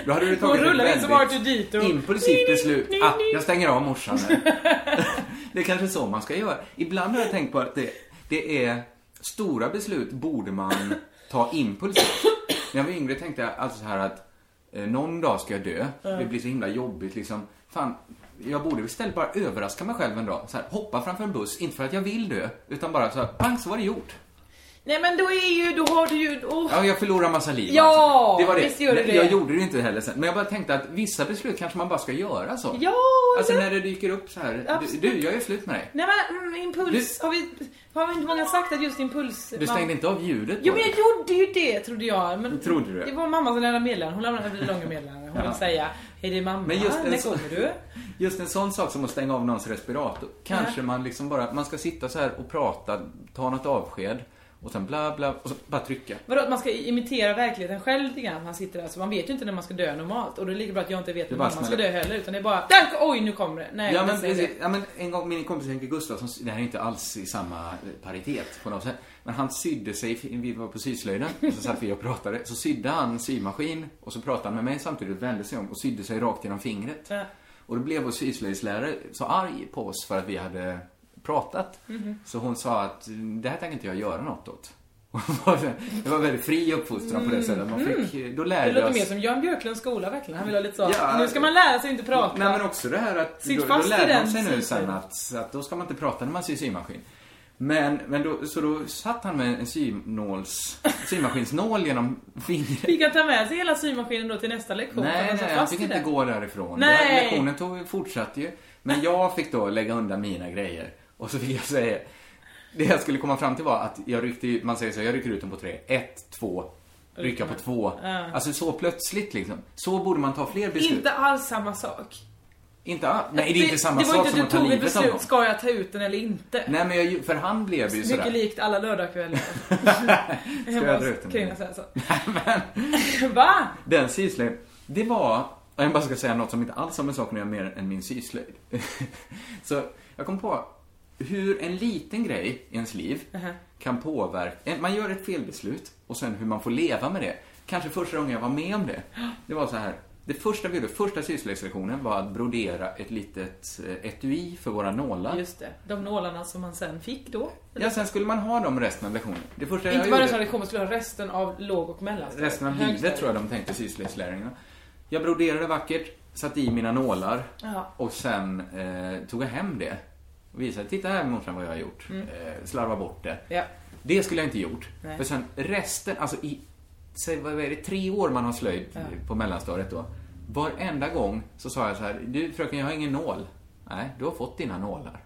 Speaker 2: Då hade du
Speaker 3: Hon
Speaker 2: tagit
Speaker 3: rullar in
Speaker 2: ett
Speaker 3: som
Speaker 2: väldigt
Speaker 3: R2D2.
Speaker 2: impulsivt beslut.
Speaker 3: ni,
Speaker 2: Ah,
Speaker 3: ni.
Speaker 2: jag stänger av morsan här. Det är kanske så man ska göra. Ibland har jag tänkt på att det, det är stora beslut borde man ta impulsivt. När jag var yngre tänkte jag alltså så här att eh, någon dag ska jag dö. Det blir så himla jobbigt liksom. Fan, jag borde istället bara överraska mig själv en dag. Så här, hoppa framför en buss, inte för att jag vill dö, utan bara så här, pang så var det gjort.
Speaker 3: Nej men då är ju, då har du ju, åh.
Speaker 2: Ja, jag förlorar massa liv.
Speaker 3: Ja,
Speaker 2: alltså. det var det.
Speaker 3: visst gjorde
Speaker 2: Men
Speaker 3: du
Speaker 2: Jag
Speaker 3: det.
Speaker 2: gjorde det inte heller sen. Men jag bara tänkte att vissa beslut kanske man bara ska göra så.
Speaker 3: Ja,
Speaker 2: Alltså
Speaker 3: det-
Speaker 2: när det dyker upp så här. Du,
Speaker 3: Absolut.
Speaker 2: du, jag är slut med dig.
Speaker 3: Nej men mm, impuls, har vi, har vi inte många sagt att just impuls...
Speaker 2: Du
Speaker 3: man-
Speaker 2: stängde inte av ljudet
Speaker 3: Jo
Speaker 2: på
Speaker 3: men jag
Speaker 2: det.
Speaker 3: gjorde ju det trodde jag. Men
Speaker 2: Trodde du det?
Speaker 3: det? var mamma som lämnade meddelande. Hon lämnade ett långa meddelande. Hon
Speaker 2: Ja.
Speaker 3: vill säga, hej det är mamma,
Speaker 2: Men just en
Speaker 3: när
Speaker 2: sån-
Speaker 3: kommer du?
Speaker 2: Just en sån sak som att stänga av någons respirator. Kanske man liksom bara, man ska sitta så här och prata, ta något avsked och sen bla bla och så bara trycka.
Speaker 3: Vadå att man ska imitera verkligheten själv lite grann? Han sitter där så man vet ju inte när man ska dö normalt. Och det är lika bra att jag inte vet
Speaker 2: Det är
Speaker 3: när
Speaker 2: bara
Speaker 3: man ska
Speaker 2: smäller.
Speaker 3: dö heller. Utan det är bara, där, oj nu kommer det. Nej,
Speaker 2: Ja
Speaker 3: jag
Speaker 2: men,
Speaker 3: säger
Speaker 2: precis.
Speaker 3: det.
Speaker 2: ja men en gång, min kompis Henke Gustafsson, det här är inte alls i samma eh, paritet på något sätt. Men han sydde sig, vi var på syslöjden och så satt vi och pratade. Så sydde han symaskin och så pratade han med mig samtidigt, vände sig om och sydde sig rakt genom fingret.
Speaker 3: Ja.
Speaker 2: Och då blev vår syslöjdslärare så arg på oss för att vi hade pratat.
Speaker 3: Mhm.
Speaker 2: Så hon sa att "Mm, det här tänker inte jag göra något åt. Och det var väldigt fri uppfostran på det sättet. Man fick, eh, då
Speaker 3: Mm. Det
Speaker 2: lärde
Speaker 3: låter
Speaker 2: oss...
Speaker 3: mer som Björn Björklunds skola verkligen. Han vill ha lite så,
Speaker 2: Ja.
Speaker 3: nu ska man lära sig inte prata.
Speaker 2: Nej men också det här att
Speaker 3: Sitt
Speaker 2: då, då
Speaker 3: fast i
Speaker 2: lärde
Speaker 3: den
Speaker 2: de sig nu
Speaker 3: syslöjden.
Speaker 2: sen att, att då ska man inte prata när man syr symaskin. Men, men då, så då satt han med en synåls, symaskinsnål genom fingret.
Speaker 3: Fick han ta med sig hela symaskinen då till nästa lektion? för att
Speaker 2: Nej,
Speaker 3: han satt
Speaker 2: nej, han
Speaker 3: fast
Speaker 2: fick
Speaker 3: i
Speaker 2: inte
Speaker 3: den?
Speaker 2: gå därifrån.
Speaker 3: Nej.
Speaker 2: Jag- Lektionen tog, fortsatte ju. Men jag fick då lägga undan mina grejer. Och så fick jag säga, det jag skulle komma fram till var att jag ryckte, ju- man säger så, jag rycker ut dem på tre. Ett, två, rycka på två.
Speaker 3: Ja.
Speaker 2: Alltså så plötsligt liksom. Så borde man ta fler beslut.
Speaker 3: Inte alls samma sak.
Speaker 2: Inte alls. Nej, det är inte samma
Speaker 3: det var
Speaker 2: sak
Speaker 3: inte
Speaker 2: som
Speaker 3: att
Speaker 2: att
Speaker 3: du
Speaker 2: ta
Speaker 3: tog ett
Speaker 2: livet av
Speaker 3: beslut,
Speaker 2: någon.
Speaker 3: ska jag ta ut den eller inte?
Speaker 2: Nej men jag, för han blev ju sådär.
Speaker 3: Mycket likt alla lördagskvällar.
Speaker 2: Ska jag dra ut den?
Speaker 3: Kring
Speaker 2: eller?
Speaker 3: så.
Speaker 2: Nej men,
Speaker 3: Va?
Speaker 2: den syslöjd. Det var, jag bara ska säga något som inte alls har med saken att göra mer än min syslöjd. Så jag kom på hur en liten grej i ens liv
Speaker 3: Uh-huh.
Speaker 2: kan påverka, man gör ett felbeslut och sen hur man får leva med det. Kanske första gången jag var med om det. Det var så här. Det första vi gjorde, första syslöjdslektionen var att brodera ett litet eh, etui för våra nålar.
Speaker 3: Just det. De nålarna som man sen fick då.
Speaker 2: Ja, sen skulle man ha dem resten av lektionen. Det första jag
Speaker 3: inte bara
Speaker 2: gjorde...
Speaker 3: den som lektionen skulle ha resten av låg och mellanstadiet.
Speaker 2: Resten av livet
Speaker 3: Högstadiet.
Speaker 2: tror jag de tänkte syslöjdslärarna. Jag broderade vackert, satte i mina nålar
Speaker 3: Ja.
Speaker 2: och sen eh, tog jag hem det. Och visade, titta här morsan vad jag har gjort. Eh, slarva bort det.
Speaker 3: Mm. Ja.
Speaker 2: Det skulle jag inte gjort.
Speaker 3: Nej.
Speaker 2: För sen resten, alltså i, säg vad är det, tre år man har slöjd på mellanstadiet då. Varenda gång så sa jag så här, du fröken jag har ingen nål. Nej, du har fått dina nålar.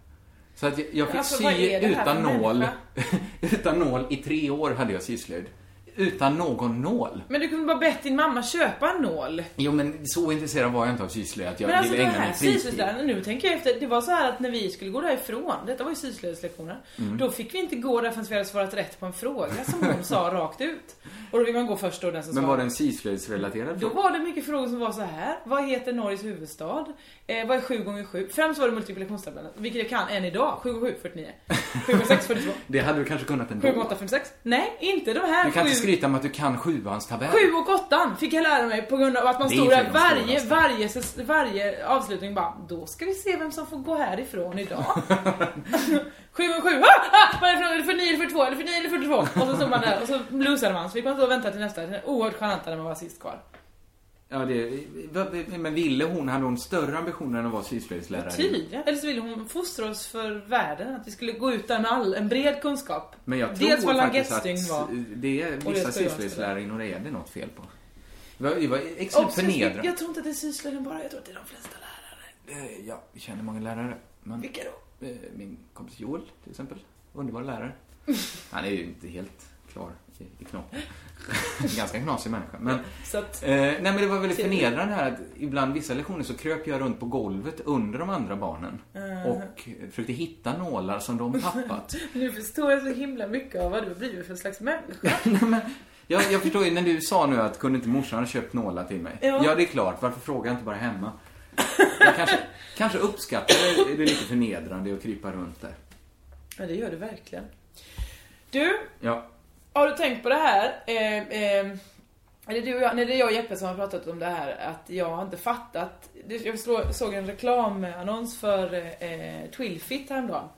Speaker 2: Så att jag, jag fick
Speaker 3: Alltså, vad
Speaker 2: sy
Speaker 3: är det här
Speaker 2: utan
Speaker 3: för
Speaker 2: nål.
Speaker 3: människa?
Speaker 2: utan nål i tre år hade jag syslöjd. Utan någon nål.
Speaker 3: Men du kunde bara bett din mamma köpa en nål.
Speaker 2: Jo men så intresserad var jag inte av sysslor att jag
Speaker 3: Men alltså
Speaker 2: ville
Speaker 3: den
Speaker 2: ägna
Speaker 3: här
Speaker 2: min fritid.
Speaker 3: syslöjdsläraren, nu tänker jag efter, det var så här att när vi skulle gå därifrån, detta var ju syslöjdslektionen,
Speaker 2: Mm.
Speaker 3: då fick vi inte gå där förrän vi hade svarat rätt på en fråga som hon sa rakt ut. Och då fick man gå först då den som
Speaker 2: Men
Speaker 3: svarade.
Speaker 2: var det en sysslöjdsrelaterad
Speaker 3: Då
Speaker 2: fråga?
Speaker 3: var det mycket frågor som var så här. Vad heter Norges huvudstad? Eh, vad är 7 gånger 7 Främst var det multiplikationstabellen, vilket jag kan än idag. 7 gånger 7 49. 7 gånger 6 42. 7
Speaker 2: Det hade du kanske kunnat ändå.
Speaker 3: gånger 8 46. Nej, inte de här
Speaker 2: Du kan inte
Speaker 3: sju.
Speaker 2: skryta om att du kan sjuans tabell.
Speaker 3: 7 och 8 fick jag lära mig på grund av att man
Speaker 2: Det är
Speaker 3: stod
Speaker 2: i och för
Speaker 3: där
Speaker 2: sig de
Speaker 3: varje,
Speaker 2: svåraste.
Speaker 3: varje, ses- varje avslutning bara Då ska vi se vem som får gå härifrån idag 7 och 7, ah, ah, vad är det för något? Är det för 9 eller för 2? Eller för 9 eller för 2? Och så stod man där och så blusade man så fick man stå och vänta till nästa Oerhört genant när man var sist kvar
Speaker 2: Ja, det, vad- men ville hon, hade hon större ambitioner än att vara sysslöjdslärare?
Speaker 3: Tydligen. Eller så ville hon fostra oss för världen, att vi skulle gå ut där med all, en bred kunskap.
Speaker 2: Men jag tror
Speaker 3: Dels vad
Speaker 2: faktiskt att
Speaker 3: langettstygn var.
Speaker 2: det är
Speaker 3: Och det
Speaker 2: vissa
Speaker 3: ska jag
Speaker 2: sysslöjdslärare inom det är det något fel på. Det var, det var
Speaker 3: Och
Speaker 2: extremt
Speaker 3: syssla-
Speaker 2: förnedrande.
Speaker 3: jag tror inte att det är syslöjden bara, jag tror att det är de flesta lärare.
Speaker 2: Eh, Ja, jag känner många lärare. Men,
Speaker 3: Vilka då?
Speaker 2: eh, Min kompis Joel till exempel. Underbar lärare. Han är ju inte helt klar i, i knoppen. Ganska knasig människa. Men,
Speaker 3: Så att,
Speaker 2: Eh, nej men det var väldigt
Speaker 3: Ser du?
Speaker 2: förnedrande här att ibland vissa lektioner så kröp jag runt på golvet under de andra barnen. Och försökte hitta nålar som de tappat.
Speaker 3: nu förstår jag så himla mycket av vad du har blivit för slags människa.
Speaker 2: nej, men, jag, jag förstår ju när du sa nu att kunde inte morsan ha köpt nålar till mig?
Speaker 3: Ja.
Speaker 2: det är klart. Varför frågar jag inte bara hemma? Jag kanske, kanske uppskattar det, det är lite förnedrande att krypa runt där.
Speaker 3: Ja, det gör du verkligen. Du,
Speaker 2: Ja.
Speaker 3: har du tänkt på det här? Eh, eh, eller du och jag, nej, det är jag och Jeppe som har pratat om det här, att jag har inte fattat. Det- Jag slå- såg en reklamannons för eh, Twilfit häromdagen.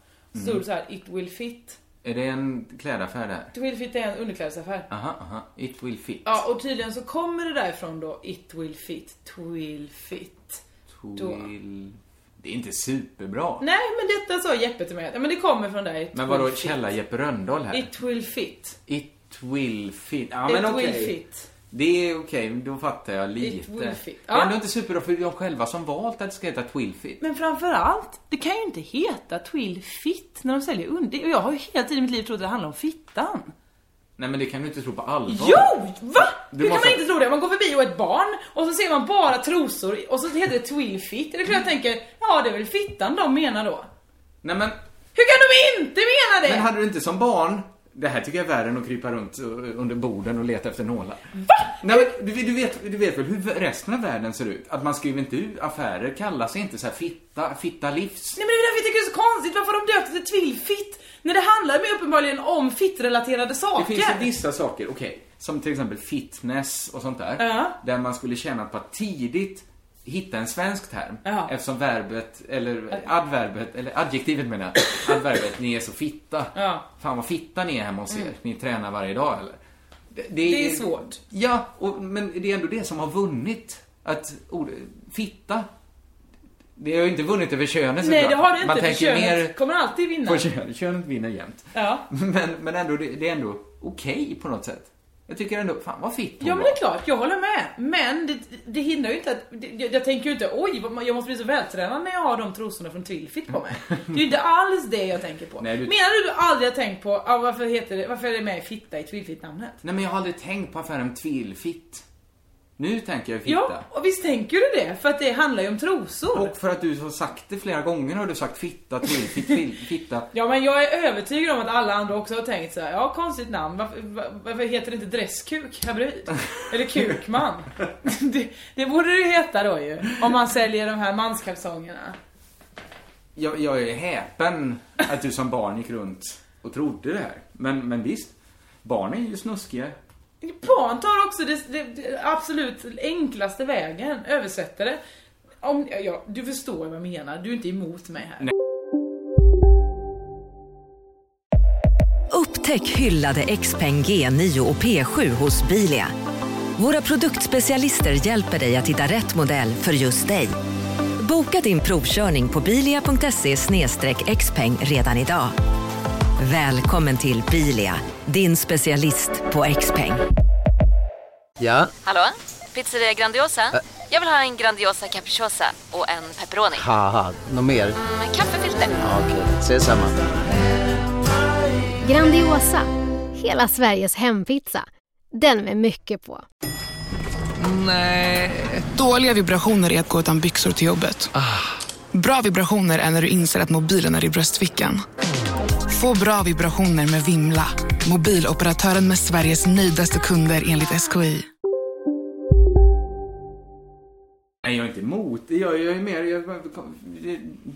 Speaker 3: Stod det så här, It will fit.
Speaker 2: Är det en klädaffär där?
Speaker 3: Twilfit är en underklädesaffär.
Speaker 2: Aha, aha. It will fit.
Speaker 3: Ja, och tydligen så kommer det därifrån då It will fit, twill fit.
Speaker 2: Twill... Det är inte superbra.
Speaker 3: Nej, men detta sa Jeppe till mig. Ja, men det kommer från dig. It
Speaker 2: Men vadå
Speaker 3: will fit.
Speaker 2: Källa-Jeppe Rönndahl här? It,
Speaker 3: It will fit.
Speaker 2: will fit. Ja,
Speaker 3: It
Speaker 2: men okej.
Speaker 3: will fit.
Speaker 2: Det är okej, då fattar jag lite.
Speaker 3: It will fit.
Speaker 2: Men
Speaker 3: Ja.
Speaker 2: ändå inte superbra för det är de själva som valt att det ska heta Twillfit.
Speaker 3: Men framförallt, det kan ju inte heta Twill Fit när de säljer under. Och jag har ju hela tiden i mitt liv trott att det handlar om fittan.
Speaker 2: Nej men det kan du inte tro på allvar.
Speaker 3: Jo! Va?
Speaker 2: Du
Speaker 3: Hur kan
Speaker 2: måste-
Speaker 3: man inte tro det? Man går förbi och är ett barn och så ser man bara trosor och så heter det Twill Fit. Det är klart jag
Speaker 2: Mm.
Speaker 3: tänker, ja det är väl fittan de menar då.
Speaker 2: Nej men,
Speaker 3: Hur kan de inte mena det?
Speaker 2: men hade du inte som barn det här tycker jag är värre än att krypa runt eh, under borden och leta efter nålar. Va? Nej, men du, du, vet, du vet väl hur resten av världen ser ut? Att man skriver inte ut affärer, kallas inte så här fitta, fitta livs.
Speaker 3: Nej men det är därför jag tycker det är så konstigt varför de döpte till tvillfitt när det handlar ju uppenbarligen om fittrelaterade
Speaker 2: Det
Speaker 3: saker.
Speaker 2: finns ju vissa saker, okej, som till exempel fitness och sånt där.
Speaker 3: Ja.
Speaker 2: Där man skulle känna på att tidigt hitta en svensk term.
Speaker 3: Ja.
Speaker 2: Eftersom verbet, eller adverbet, eller adjektivet menar jag. Adverbet, ni är så fitta.
Speaker 3: Ja. Mm.
Speaker 2: Fan vad fitta ni är hemma hos er. Ni tränar varje dag eller? Det,
Speaker 3: Det är svårt.
Speaker 2: Ja, och, men det är ändå det som har vunnit. Att ord, fitta. Det har ju inte vunnit över könet
Speaker 3: Nej
Speaker 2: såklart.
Speaker 3: det har det inte,
Speaker 2: Man
Speaker 3: för
Speaker 2: tänker
Speaker 3: könet
Speaker 2: mer
Speaker 3: kommer alltid vinna.
Speaker 2: på könet. Könet vinner jämt.
Speaker 3: Ja.
Speaker 2: Men, men ändå, det, det är ändå okej på något sätt. Jag tycker ändå, fan vad fitt hon
Speaker 3: Ja men
Speaker 2: var.
Speaker 3: det är klart, jag håller med. Men det, det hindrar ju inte att, det, jag, jag tänker ju inte oj vad man- jag måste bli så vältränad när jag har de trosorna från Twillfit på mig. Det är ju inte alls det jag tänker på.
Speaker 2: Nej, du-
Speaker 3: Menar du du aldrig har tänkt på ah, varför, heter det, varför är det med i fitta i Twillfit namnet?
Speaker 2: Nej men jag har aldrig tänkt på affären Tvillfitt. Nu tänker jag
Speaker 3: Ja,
Speaker 2: fitta.
Speaker 3: och visst tänker du det? För att det handlar ju om trosor.
Speaker 2: Och för att du har sagt det flera gånger har du sagt fitta, tvillfitt, fill- fitta.
Speaker 3: Ja men jag är övertygad om att alla andra också har tänkt så här. ja konstigt namn, varför, var- varför heter det inte dresskuk hybrid? Eller kukman? det, det borde det heta då ju, om man säljer de här manskalsongerna.
Speaker 2: Jag, jag är häpen att du som barn gick runt och trodde det här. Men, men visst, barn är ju snuskiga.
Speaker 3: Barn tar också det, det, det absolut enklaste vägen, översätter det. Om, ja, du förstår vad jag menar, du är inte emot mig här.
Speaker 4: Upptäck hyllade XPeng G9 och P7 hos Bilia. Våra produktspecialister hjälper dig att hitta rätt modell för just dig. Boka din provkörning på bilia.se xpeng redan idag. Välkommen till Bilia, din specialist på XPeng.
Speaker 5: Ja,
Speaker 6: Hallå? Pizzeria Grandiosa? Jag vill ha en Grandiosa capriciosa och en pepperoni.
Speaker 5: haha, något mer?
Speaker 6: Med kaffefilter.
Speaker 5: Ja, Okej, ses samma.
Speaker 7: Grandiosa, hela Sveriges hempizza. Den med mycket på.
Speaker 8: Dåliga vibrationer är att gå utan byxor till jobbet. Bra vibrationer är när du inser att mobilen är i bröstfickan. Få bra vibrationer med Vimla. Mobiloperatören med Sveriges nöjdaste kunder enligt SKI.
Speaker 2: Nej, jag är inte emot det. Jag, jag är mer... Jag,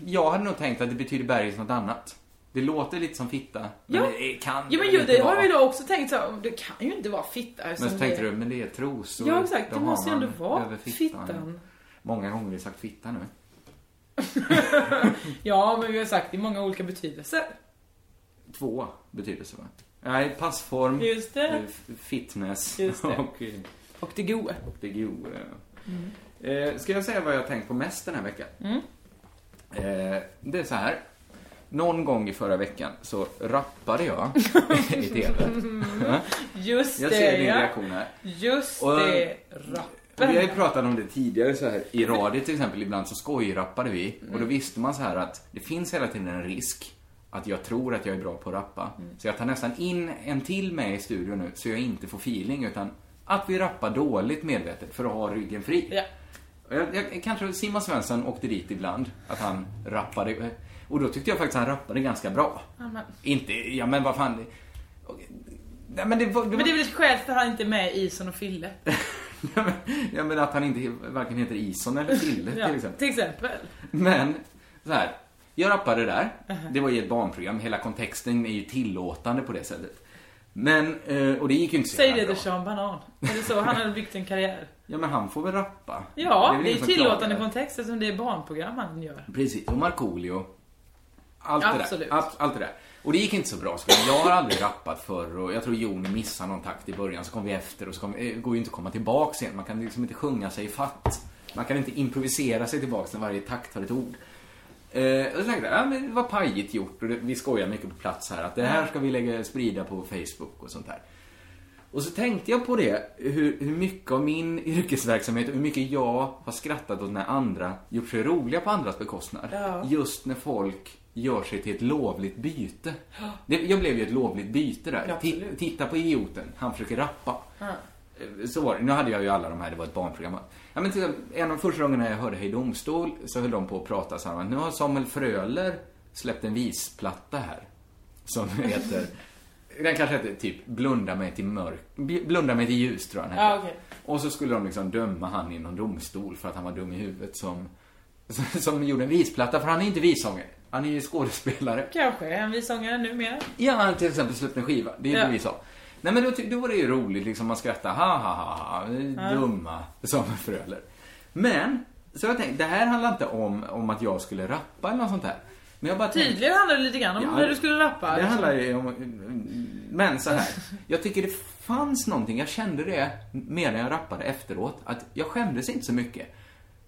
Speaker 2: jag hade nog tänkt att det betyder bergis något annat. Det låter lite som fitta. Men
Speaker 3: Ja.
Speaker 2: det kan
Speaker 3: Ja men
Speaker 2: väl
Speaker 3: ju,
Speaker 2: inte
Speaker 3: det har
Speaker 2: vara.
Speaker 3: vi då också tänkt så här, det kan ju inte vara fitta.
Speaker 2: Men
Speaker 3: som
Speaker 2: så
Speaker 3: det-
Speaker 2: tänkte du, men det är trosor.
Speaker 3: Ja exakt,
Speaker 2: de
Speaker 3: det
Speaker 2: har
Speaker 3: måste ju
Speaker 2: man
Speaker 3: ändå vara
Speaker 2: över
Speaker 3: fittan.
Speaker 2: Många gånger har vi sagt fitta nu.
Speaker 3: Ja men vi har sagt i många olika betydelser.
Speaker 2: Två betydelser va? Nej, passform,
Speaker 3: Just
Speaker 2: eh,
Speaker 3: det.
Speaker 2: f- fitness
Speaker 3: Just det.
Speaker 2: och eh,
Speaker 3: Och det Mm. gode.
Speaker 2: det goa. Eh, Ska jag säga vad jag har tänkt på mest den här veckan?
Speaker 3: Mm.
Speaker 2: Eh, Det är så här. Någon gång i förra veckan så rappade jag i TV.
Speaker 3: Just
Speaker 2: Jag
Speaker 3: det
Speaker 2: ser din
Speaker 3: ja.
Speaker 2: reaktion här.
Speaker 3: Just
Speaker 2: Och-
Speaker 3: det.
Speaker 2: Och Vi har ju
Speaker 3: Rappen.
Speaker 2: pratat om det tidigare så här. I radio till exempel ibland så skojrappade vi och
Speaker 3: Mm.
Speaker 2: då visste man så här att det finns hela tiden en risk att jag tror att jag är bra på att rappa.
Speaker 3: Mm.
Speaker 2: Så jag tar nästan in en till med i studion nu så jag inte får feeling utan att vi rappar dåligt medvetet för att ha ryggen fri.
Speaker 3: Ja.
Speaker 2: Och Jag, jag, kanske Simon Svensson åkte dit ibland, att han rappade. Och då tyckte jag faktiskt han rappade ganska bra.
Speaker 3: men-
Speaker 2: Inte, ja men vad fan. Och- Nej, men det, var- det var-
Speaker 3: Men det är väl ett skäl för att han inte är med i Ison och Fille.
Speaker 2: Ja, men- ja men att han inte varken heter Ison eller Fille
Speaker 3: Ja,
Speaker 2: till exempel.
Speaker 3: till exempel.
Speaker 2: Men, så här. Jag rappade där. Det var ju ett barnprogram. Hela kontexten är ju tillåtande på det sättet. Men, eh, och det gick ju inte så
Speaker 3: Säg
Speaker 2: jävla
Speaker 3: det
Speaker 2: bra.
Speaker 3: till Sean Banan. Är det så? Han hade byggt en karriär.
Speaker 2: Ja men han får väl rappa.
Speaker 3: Ja,
Speaker 2: väl
Speaker 3: det är
Speaker 2: ingen
Speaker 3: ju
Speaker 2: som
Speaker 3: tillåtande
Speaker 2: klagar.
Speaker 3: kontext eftersom det är barnprogram han gör.
Speaker 2: Precis, och Markoolio. Allt
Speaker 3: Absolut.
Speaker 2: det där. Ab- Allt det där. Och det gick inte så bra. Så jag har aldrig rappat förr och jag tror Jon missade någon takt i början så kom vi efter och så kom, eh, går ju inte att komma tillbaks igen. Man kan liksom inte sjunga sig i fatt. Man kan inte improvisera sig tillbaks när varje takt har ett ord. Eh, och så tänkte jag, ja, men det var pajigt gjort och det, vi skojar mycket på plats här att det här ska vi lägga, sprida på Facebook och sånt där. Och så tänkte jag på det, hur, hur mycket av min yrkesverksamhet och hur mycket jag har skrattat åt när andra gjort sig roliga på andras bekostnad.
Speaker 3: Ja.
Speaker 2: Just när folk gör sig till ett lovligt byte. Det, jag blev ju ett lovligt byte där.
Speaker 3: Ja, absolut.
Speaker 2: Ti- titta på idioten, han försöker rappa. Eh, Så var det. Nu hade jag ju alla de här, det var ett barnprogram. Ja, men till, exempel, en av de första gångerna jag hörde Hej Domstol så höll de på att prata så här. men Nu har Samuel Fröler släppt en visplatta här. Som heter, den kanske heter typ Blunda mig till mörk, Blunda mig till ljus tror jag den
Speaker 3: Ja,
Speaker 2: heter.
Speaker 3: okej.
Speaker 2: Och så skulle de liksom döma han i någon domstol för att han var dum i huvudet som, som gjorde en visplatta. För han är inte vissångare, han är ju skådespelare.
Speaker 3: Kanske är en visångare numera.
Speaker 2: Ja, han har till exempel släppt en skiva. Det är
Speaker 3: Ja.
Speaker 2: det vi sa. Nej, men då, ty- då var det ju roligt liksom. Man skrattade. Ha, ha, ha, ha.
Speaker 3: Ja.
Speaker 2: Dumma Samuel Fröler. Men, så jag tänkte, det här handlar inte om, om att jag skulle rappa eller något sånt där. Men jag bara tänkte,
Speaker 3: Tydligen handlar det lite grann om
Speaker 2: Ja,
Speaker 3: när du skulle rappa.
Speaker 2: det
Speaker 3: liksom.
Speaker 2: handlar ju om... Men så här. Jag tycker det fanns någonting, jag kände det mer när jag rappade efteråt, att jag skämdes inte så mycket.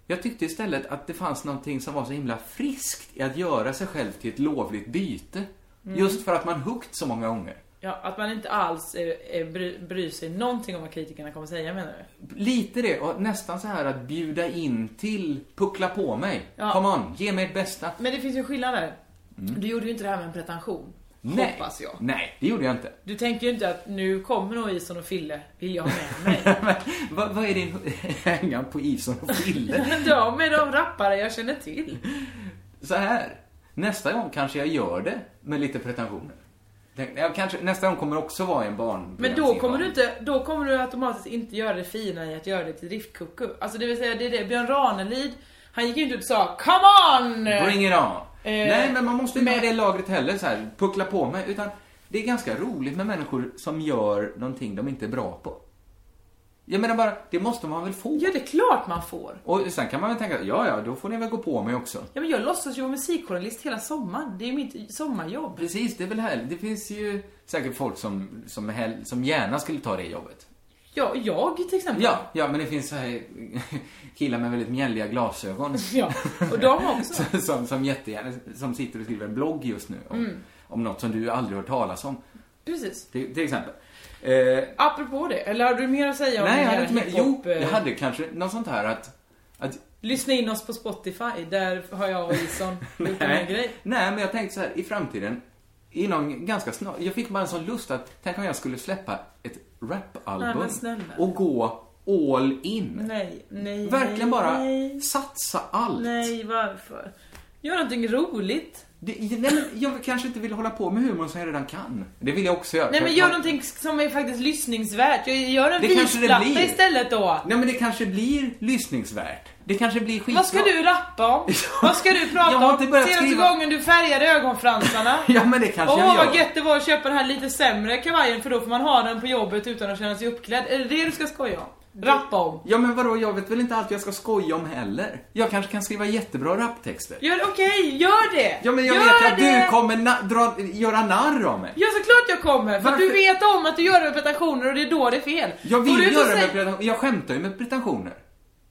Speaker 2: Jag tyckte istället att det fanns någonting som var så himla friskt i att göra sig själv till ett lovligt byte.
Speaker 3: Mm.
Speaker 2: Just för att man huggt så många gånger.
Speaker 3: Ja, att man inte alls eh, eh, bry, bryr sig någonting om vad kritikerna kommer säga menar du?
Speaker 2: Lite det, och nästan så här att bjuda in till puckla på mig.
Speaker 3: Ja. Mm.
Speaker 2: Come on, ge mig ett bästa.
Speaker 3: Men det finns ju en skillnad där.
Speaker 2: Mm.
Speaker 3: Du gjorde ju inte det här med en pretension.
Speaker 2: Nej.
Speaker 3: Hoppas jag.
Speaker 2: Nej, det gjorde jag inte.
Speaker 3: Du tänker ju inte att nu kommer nog Ison och Fille, vill jag ha med mig?
Speaker 2: Vad vad är din hängan på Ison och Fille?
Speaker 3: de är de rappare jag känner till.
Speaker 2: så här. Nästa gång kanske jag gör det med lite pretensioner. Tänk- Jag kanske, nästa gång kommer också vara en barn.
Speaker 3: Men då kommer, du inte, då kommer du automatiskt inte göra det fina i att göra det till driftkucku. Alltså det vill säga, det är det. Björn Ranelid, han gick ju inte ut och sa 'Come on!'
Speaker 2: Bring it on!
Speaker 3: Eh,
Speaker 2: Nej, men man måste inte ha det lagret heller, så här, puckla på mig. Utan det är ganska roligt med människor som gör någonting de inte är bra på. Jag menar bara, det måste man väl få?
Speaker 3: Ja, det är klart man får.
Speaker 2: Och sen kan man väl tänka, ja, ja, då får ni väl gå på mig också.
Speaker 3: Ja men jag låtsas ju vara musikjournalist hela sommaren. Det är ju mitt sommarjobb.
Speaker 2: Precis, det är väl här. Det finns ju säkert folk som, som, hell, som gärna skulle ta det jobbet.
Speaker 3: Ja, jag till exempel.
Speaker 2: Ja, ja, men det finns så här killar med väldigt mjälliga glasögon.
Speaker 3: Ja, och de också.
Speaker 2: som, som jättegärna, som sitter och skriver en blogg just nu om,
Speaker 3: Mm.
Speaker 2: om något som du aldrig hört talas om.
Speaker 3: Precis.
Speaker 2: Till, till exempel. Eh,
Speaker 3: Apropå det, eller har du mer att säga om
Speaker 2: nej,
Speaker 3: den
Speaker 2: jag
Speaker 3: här
Speaker 2: hade inte med. Jo,
Speaker 3: hiphop, eh,
Speaker 2: jag hade kanske något sånt här att... att
Speaker 3: Lyssna in oss på Spotify, där har jag och Ison gjort en
Speaker 2: nej,
Speaker 3: grej.
Speaker 2: nej, men jag tänkte så här, i framtiden, inom ganska snart, jag fick bara en sån lust att, tänk om jag skulle släppa ett
Speaker 3: Nej,
Speaker 2: rapalbum
Speaker 3: men snälla.
Speaker 2: och gå all in.
Speaker 3: Nej, nej,
Speaker 2: Verkligen
Speaker 3: nej,
Speaker 2: bara
Speaker 3: nej.
Speaker 2: satsa allt.
Speaker 3: Nej, varför? Gör någonting roligt.
Speaker 2: Det, nej, men jag kanske inte vill hålla på med humor som jag redan kan. Det vill jag också göra.
Speaker 3: Nej
Speaker 2: För
Speaker 3: men
Speaker 2: att
Speaker 3: gör
Speaker 2: man-
Speaker 3: någonting som är faktiskt lyssningsvärt. Jag- Gör en
Speaker 2: Det kanske det
Speaker 3: visplatta
Speaker 2: blir.
Speaker 3: istället då.
Speaker 2: Nej men det kanske blir lyssningsvärt. Det kanske blir skitbra.
Speaker 3: Vad ska du rappa om? Vad ska du prata
Speaker 2: Jag har
Speaker 3: om?
Speaker 2: inte börjat
Speaker 3: Senaste
Speaker 2: skriva.
Speaker 3: gången du färgade ögonfransarna.
Speaker 2: Ja men det kanske
Speaker 3: Åh
Speaker 2: jag gör.
Speaker 3: vad gött det var att köpa den här lite sämre kavajen för då får man ha den på jobbet utan att känna sig uppklädd. Är det det du ska skoja om? Rappa om?
Speaker 2: Ja men vadå, jag vet väl inte allt jag ska skoja om heller. Jag kanske kan skriva jättebra raptexter.
Speaker 3: Gör Okej, gör det!
Speaker 2: Ja men jag
Speaker 3: gör
Speaker 2: vet ju att
Speaker 3: det!
Speaker 2: du kommer na- dra, göra narr av mig.
Speaker 3: Ja såklart jag kommer! För att du
Speaker 2: Varför?
Speaker 3: vet om att du gör det med pretensioner och det är då det är fel.
Speaker 2: Jag
Speaker 3: Går
Speaker 2: vill
Speaker 3: du ut och
Speaker 2: göra det
Speaker 3: säger-
Speaker 2: med pretensioner. Jag skämtar ju med pretensioner.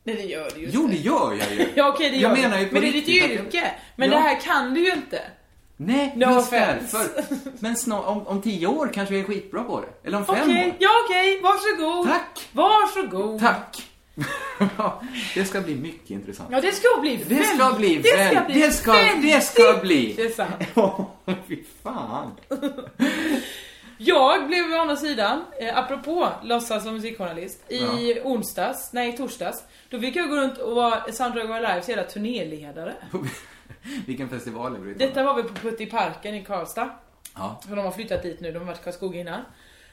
Speaker 3: Nej det gör du ju
Speaker 2: Jo det gör jag ju.
Speaker 3: Ja okej det gör
Speaker 2: jag
Speaker 3: du.
Speaker 2: menar ju på
Speaker 3: Men det är ditt
Speaker 2: riktigt att jag-
Speaker 3: yrke. Men
Speaker 2: Ja.
Speaker 3: det här kan du ju inte.
Speaker 2: Nej,
Speaker 3: No
Speaker 2: just
Speaker 3: offense.
Speaker 2: därför. Men snart, om, om tio år kanske jag är skitbra på det. Eller om fem
Speaker 3: Okej,
Speaker 2: år.
Speaker 3: ja okej, varsågod.
Speaker 2: Tack.
Speaker 3: Varsågod.
Speaker 2: Tack. ja, det ska bli mycket intressant.
Speaker 3: Ja det ska bli
Speaker 2: Det ska
Speaker 3: väldigt-
Speaker 2: bli
Speaker 3: det ska
Speaker 2: väl-
Speaker 3: bli
Speaker 2: det ska- det ska
Speaker 3: väldigt
Speaker 2: bli.
Speaker 3: intressant.
Speaker 2: Fy fan.
Speaker 3: Jag blev å andra sidan, eh, apropå låtsas som musikjournalist, i onsdags, nej i torsdags, då fick jag gå runt och vara Sandra Go Alives hela turnéledare.
Speaker 2: Vilken festival är det?
Speaker 3: Detta var väl på Puttiparken i Karlstad.
Speaker 2: Ja.
Speaker 3: För de har flyttat dit nu, de har varit i Karlskoga innan.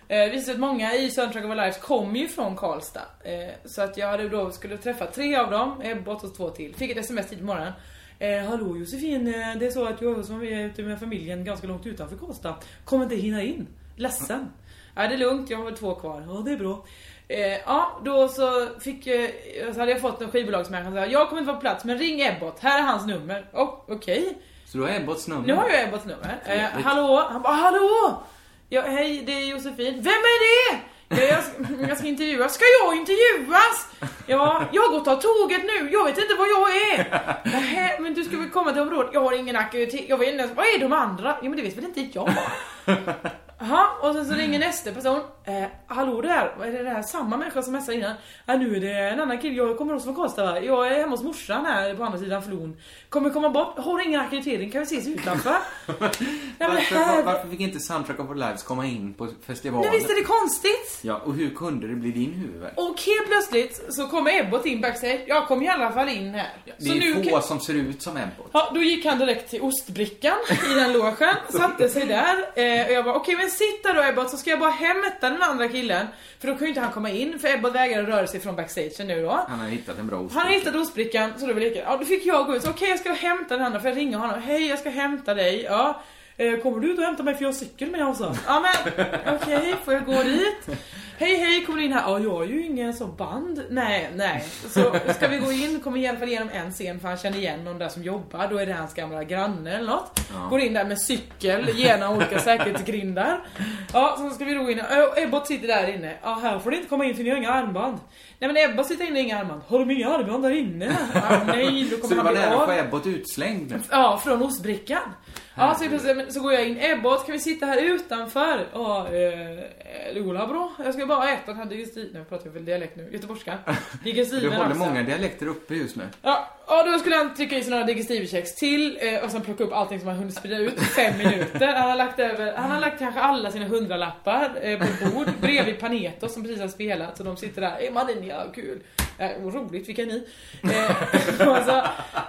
Speaker 3: Eh, det visade sig att många i Soundtrack of Our Lives kommer ju från Karlstad. Eh, så att jag hade då skulle träffa tre av dem, Ebbot och två till. Fick ett sms tidigt på morgonen. Eh, hallå Josefin, eh, det är så att jag som är ute med familjen ganska långt utanför Karlstad kommer inte hinna in. Ledsen. Ja, det är lugnt, jag har två kvar. Ja, det är bra. Eh, ja, då så fick eh, så hade jag fått en skivbolagsmänniska som sa jag kommer inte vara på plats men ring Ebbot, här är hans nummer. Oh, Okej.
Speaker 2: Så du har Ebbots nummer?
Speaker 3: Nu har jag Ebbots nummer. Eh,
Speaker 2: Trevligt.
Speaker 3: hallå? Han bara, hallå? Ja, hej, det är Josefin. Vem är det? Jag, jag, ska- jag ska intervjuas. Ska jag intervjuas? Ja, jag går och tar tåget nu. Jag vet inte var jag är. Nähä, men du ska väl komma till området? Jag har ingen aktivitet. Jag vet inte ens, vad är de andra? Ja men det vet väl inte jag? Jaha, och sen så ringer nästa person. Eh, hallå där, är det där samma människa som messade innan? Ja nu är det en annan kille, jag kommer också från Karlstad va? Jag är hemma hos morsan här på andra sidan floden. Kommer komma bort, har ingen akkreditering, kan vi ses utanför? Ja, men
Speaker 2: Varför,
Speaker 3: här-
Speaker 2: var, varför fick inte Soundtrack of Our Lives komma in på festivalen?
Speaker 3: Nej visst är det konstigt?
Speaker 2: Ja, och hur kunde det bli din huvudvärk?
Speaker 3: Och helt plötsligt så kommer Ebbot in backstage. Jag kom i alla fall in här.
Speaker 2: Det
Speaker 3: så nu
Speaker 2: är få
Speaker 3: kan-
Speaker 2: som ser ut som Ebbot.
Speaker 3: Ja, då gick han direkt till ostbrickan i den logen, satte sig där eh, och jag bara okej men sitt där då Ebbot så ska jag bara hämta den andra killen. För då kan ju inte han komma in för Ebbot vägrar röra sig från backstagen nu då.
Speaker 2: Han har hittat en bra ost.
Speaker 3: Han hittade ostbrickan så då var det lika. Ja, då fick jag gå ut. Så, Okej jag ska hämta den andra för jag ringer honom. Hej jag ska hämta dig. Ja. Eh, Kommer du ut och hämta mig för jag har cykel med jag sa. Ja men okej får jag gå dit? Hej hej kommer du in här? Ja jag är ju ingen sån band. Nej nej. Så ska vi gå in, kommer i alla fall igenom en scen för han känner igen någon där som jobbar. Då är det hans gamla granne eller något.
Speaker 9: Ja.
Speaker 3: Går in där med cykel genom olika säkerhetsgrindar. Ja, sen ska vi då gå in. Ö, Ebbot sitter där inne. Ja, här får ni inte komma in för ni har inga armband. Nej men Ebbot sitter inne i inga armband. Har de inga armband där inne? Ja, nej, då
Speaker 2: Så du
Speaker 3: kommer han
Speaker 2: var
Speaker 3: bli
Speaker 2: nära att få
Speaker 3: av.
Speaker 2: Ebbot utslängd.
Speaker 3: Ja, från ostbrickan. Ja, så, helt plötsligt- så går jag in. Ebbot, kan vi sitta här utanför? Ja, eh, Lola bra. Jag ska bara äta den här digestiv... Nu pratar jag väl dialekt nu. Göteborgskan.
Speaker 2: Du
Speaker 3: Digestiven
Speaker 2: håller
Speaker 3: också.
Speaker 2: många dialekter uppe just nu.
Speaker 3: Ja, ja, då skulle han trycka i sig några digestivekex till eh, och sen plocka upp allting som han hunnit sprida ut på fem minuter. Han har lagt, över, han har lagt kanske alla sina hundralappar eh, på ett bord bredvid Panetos som precis har spelat så de sitter där. Hey, mannen, ja, kul. Eh, vad roligt, vilka är ni? Eh, och, så,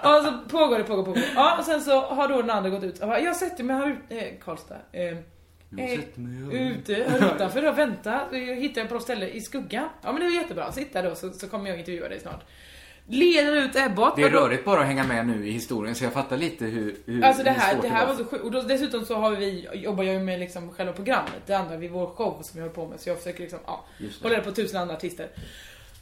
Speaker 3: och så pågår det, pågår, pågår. Ja, och sen så har då den andra gått ut. Jag bara, Jag sätter mig här ute, eh, Karlstad. Eh,
Speaker 2: Jag
Speaker 3: eh,
Speaker 2: sätter mig här
Speaker 3: Ute, här utanför och vänta. Eh, Hittar jag på något ställe i skuggan. Ja men det är jättebra, sitt där då så, så kommer jag intervjua dig snart. Leder ut Ebbot.
Speaker 2: Det är
Speaker 3: och då-
Speaker 2: rörigt bara att hänga med nu i historien så jag fattar lite hur, hur
Speaker 3: Alltså det
Speaker 2: hur
Speaker 3: här,
Speaker 2: svårt
Speaker 3: det här var så sjukt. Och då, dessutom så har vi, jobbar jag ju med liksom själva programmet. Det andra, vid vår show som jag håller på med. Så jag försöker liksom, ja,
Speaker 2: Just det.
Speaker 3: hålla reda på tusen andra artister.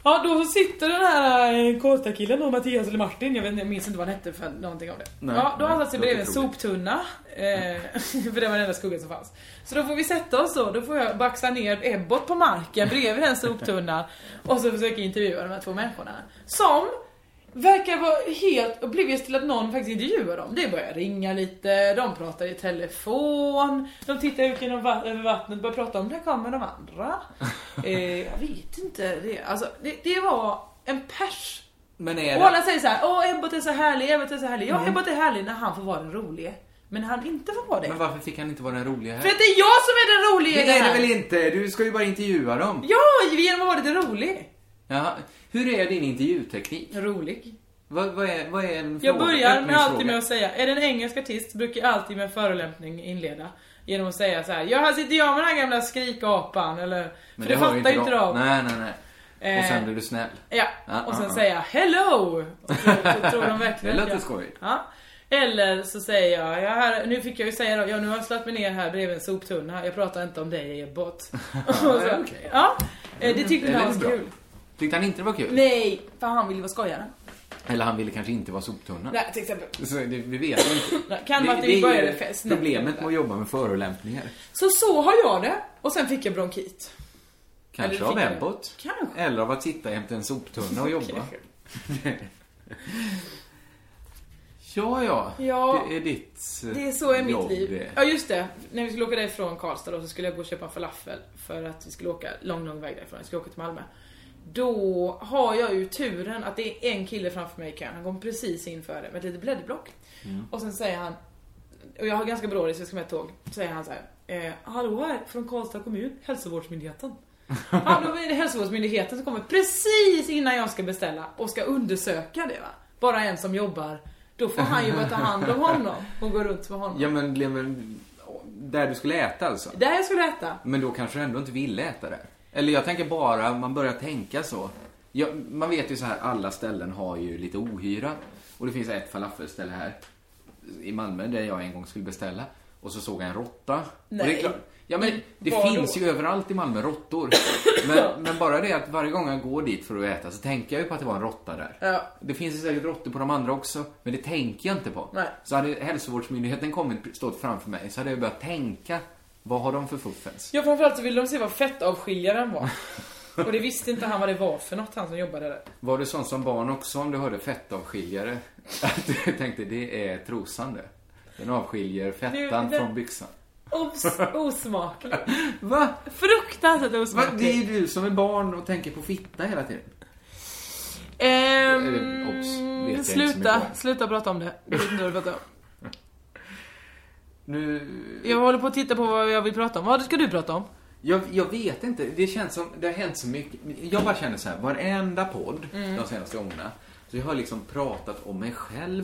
Speaker 3: Ja, då sitter den här Karlstadkillen då, Mattias eller Martin. Jag, vet, inte, jag minns inte vad han hette för någonting av det.
Speaker 9: Nej,
Speaker 3: ja, då har han
Speaker 9: nej,
Speaker 3: satt sig
Speaker 9: låter
Speaker 3: bredvid en
Speaker 9: troligt.
Speaker 3: soptunna. Eh, för det var den enda skuggan som fanns. Så då får vi sätta oss då. Då får jag baxa ner Ebbot på marken bredvid den soptunnan. Och så försöka intervjua de här två människorna. Som Verkar vara helt oblivious till att någon faktiskt intervjuar dem. Det börjar ringa lite, de pratar i telefon, de tittar ut genom va- över vattnet och börjar prata om där kommer de andra. Eh, jag vet inte. Det, alltså, det, det var en pers.
Speaker 2: Men är
Speaker 3: Och alla
Speaker 2: det...
Speaker 3: säger så här: åh Ebbot är så härlig, Ebbot är så härlig. Ja,
Speaker 2: Mm.
Speaker 3: Ebbot är härlig när han får vara den rolige. Men när han inte får vara det.
Speaker 2: Men varför fick han inte vara den roliga här?
Speaker 3: För att det är jag som är den roliga i
Speaker 2: det är
Speaker 3: här.
Speaker 2: det väl inte? Du ska ju bara intervjua dem.
Speaker 3: Ja, genom att vara lite rolig.
Speaker 2: Jaha. Hur är din intervjuteknik?
Speaker 3: Rolig.
Speaker 2: Vad, vad, är, vad är en
Speaker 3: Jag
Speaker 2: fråga?
Speaker 3: börjar med
Speaker 2: Öppningsfråga.
Speaker 3: alltid med att säga, är det en engelsk artist brukar jag alltid med förolämpning inleda. Genom att säga så här: ja här sitter jag med den här gamla skrikapan eller,
Speaker 2: Men
Speaker 3: för det,
Speaker 2: hör ju
Speaker 3: fattar inte de.
Speaker 2: Nej, nej, nej. Och
Speaker 3: Eh,
Speaker 2: sen blir du snäll.
Speaker 3: Ja,
Speaker 2: Ah,
Speaker 3: och sen
Speaker 2: ah, ah.
Speaker 3: säga hello! Och så, så tror de verkligen
Speaker 2: Det
Speaker 3: att
Speaker 2: låter
Speaker 3: jag-
Speaker 2: skojigt.
Speaker 3: Ja. Eller så säger jag, ja, här, nu fick jag ju säga då, ja nu har jag slagit mig ner här bredvid en soptunna, jag pratar inte om dig Ebbot. Och så-
Speaker 2: Ja, okej.
Speaker 3: Ja, eh, det tyckte
Speaker 2: Mm,
Speaker 3: han
Speaker 2: lät
Speaker 3: var
Speaker 2: bra.
Speaker 3: kul.
Speaker 2: Tyckte han inte det var kul?
Speaker 3: Nej, för han ville vara skojare.
Speaker 2: Eller han ville kanske inte vara soptunna.
Speaker 3: Nej, till exempel.
Speaker 2: Så det, vi vet ju inte.
Speaker 3: Nej, Kan vara att vi
Speaker 2: är
Speaker 3: började fest.
Speaker 2: problemet med att jobba med förolämpningar.
Speaker 3: Så så har jag det. Och sen fick jag bronkit.
Speaker 2: Kanske
Speaker 3: Eller
Speaker 2: av
Speaker 3: fick jag-
Speaker 2: Ebbot.
Speaker 3: Kanske.
Speaker 2: Eller av att sitta jämte en soptunna och jobba.
Speaker 3: Okej.
Speaker 2: ja, ja,
Speaker 3: Ja,
Speaker 2: Det är ditt eh,
Speaker 3: Det är så är mitt
Speaker 2: jobb,
Speaker 3: liv.
Speaker 2: det.
Speaker 3: Ja just det. När vi skulle åka därifrån Karlstad då, så skulle jag gå och köpa en falafel. För att vi skulle åka lång, lång väg därifrån. Vi skulle åka till Malmö. Då har jag ju turen att det är en kille framför mig i kön. Han kom precis in före med ett litet blädderblock.
Speaker 9: Mm.
Speaker 3: Och sen säger han, och jag har ganska bra ålder så jag ska med ett tåg. Så säger han så här. Eh, hallå här från Karlstad kommun, hälsovårdsmyndigheten. Ja, då är det hälsovårdsmyndigheten som kommer precis innan jag ska beställa och ska undersöka det va. Bara en som jobbar. Då får han ju bara ta hand om honom och gå runt med honom.
Speaker 2: Ja, men blev väl där du skulle äta alltså?
Speaker 3: Där jag skulle äta.
Speaker 2: Men då kanske du ändå inte ville äta där. Eller jag tänker bara, man börjar tänka så. Ja, man vet ju så här, alla ställen har ju lite ohyra. Och det finns ett falafelställe här i Malmö där jag en gång skulle beställa. Och så såg jag en råtta. Och det är
Speaker 9: Nej.
Speaker 2: klart, ja, men det
Speaker 9: Var då?
Speaker 2: finns ju överallt i Malmö råttor. Men, men bara det att varje gång jag går dit för att äta så tänker jag ju på att det var en råtta där.
Speaker 3: Ja.
Speaker 2: Det finns ju säkert råttor på de andra också, men det tänker jag inte på.
Speaker 3: Nej.
Speaker 2: Så hade hälsovårdsmyndigheten kommit stått framför mig så hade jag börjat tänka Vad har de för fuffens?
Speaker 3: Ja, framförallt så ville de se vad fettavskiljaren var. Och det visste inte han vad det var för något, han som jobbade där.
Speaker 2: Var du sån som barn också om du hörde fettavskiljare? Att du tänkte det är trosan det. Den avskiljer fettan
Speaker 3: Nu, den-
Speaker 2: från byxan.
Speaker 3: Os osmaklig.
Speaker 2: Va?
Speaker 3: Fruktansvärt
Speaker 2: Va? Det är
Speaker 3: osmaklig.
Speaker 2: ju du som är barn och tänker på fitta hela tiden.
Speaker 3: Ehm,
Speaker 2: Eller, obs, vet jag inte så mycket
Speaker 3: sluta,
Speaker 2: om.
Speaker 3: sluta prata om det. Jag vet inte vad du pratar om.
Speaker 2: Nu...
Speaker 3: Jag håller på att titta på vad jag vill prata om. Vad ska du prata om?
Speaker 2: Jag, jag vet inte. Det känns som, det har hänt så mycket. Jag bara känner så här, varenda podd
Speaker 3: Mm.
Speaker 2: de senaste gångerna. Så jag har liksom pratat om mig själv.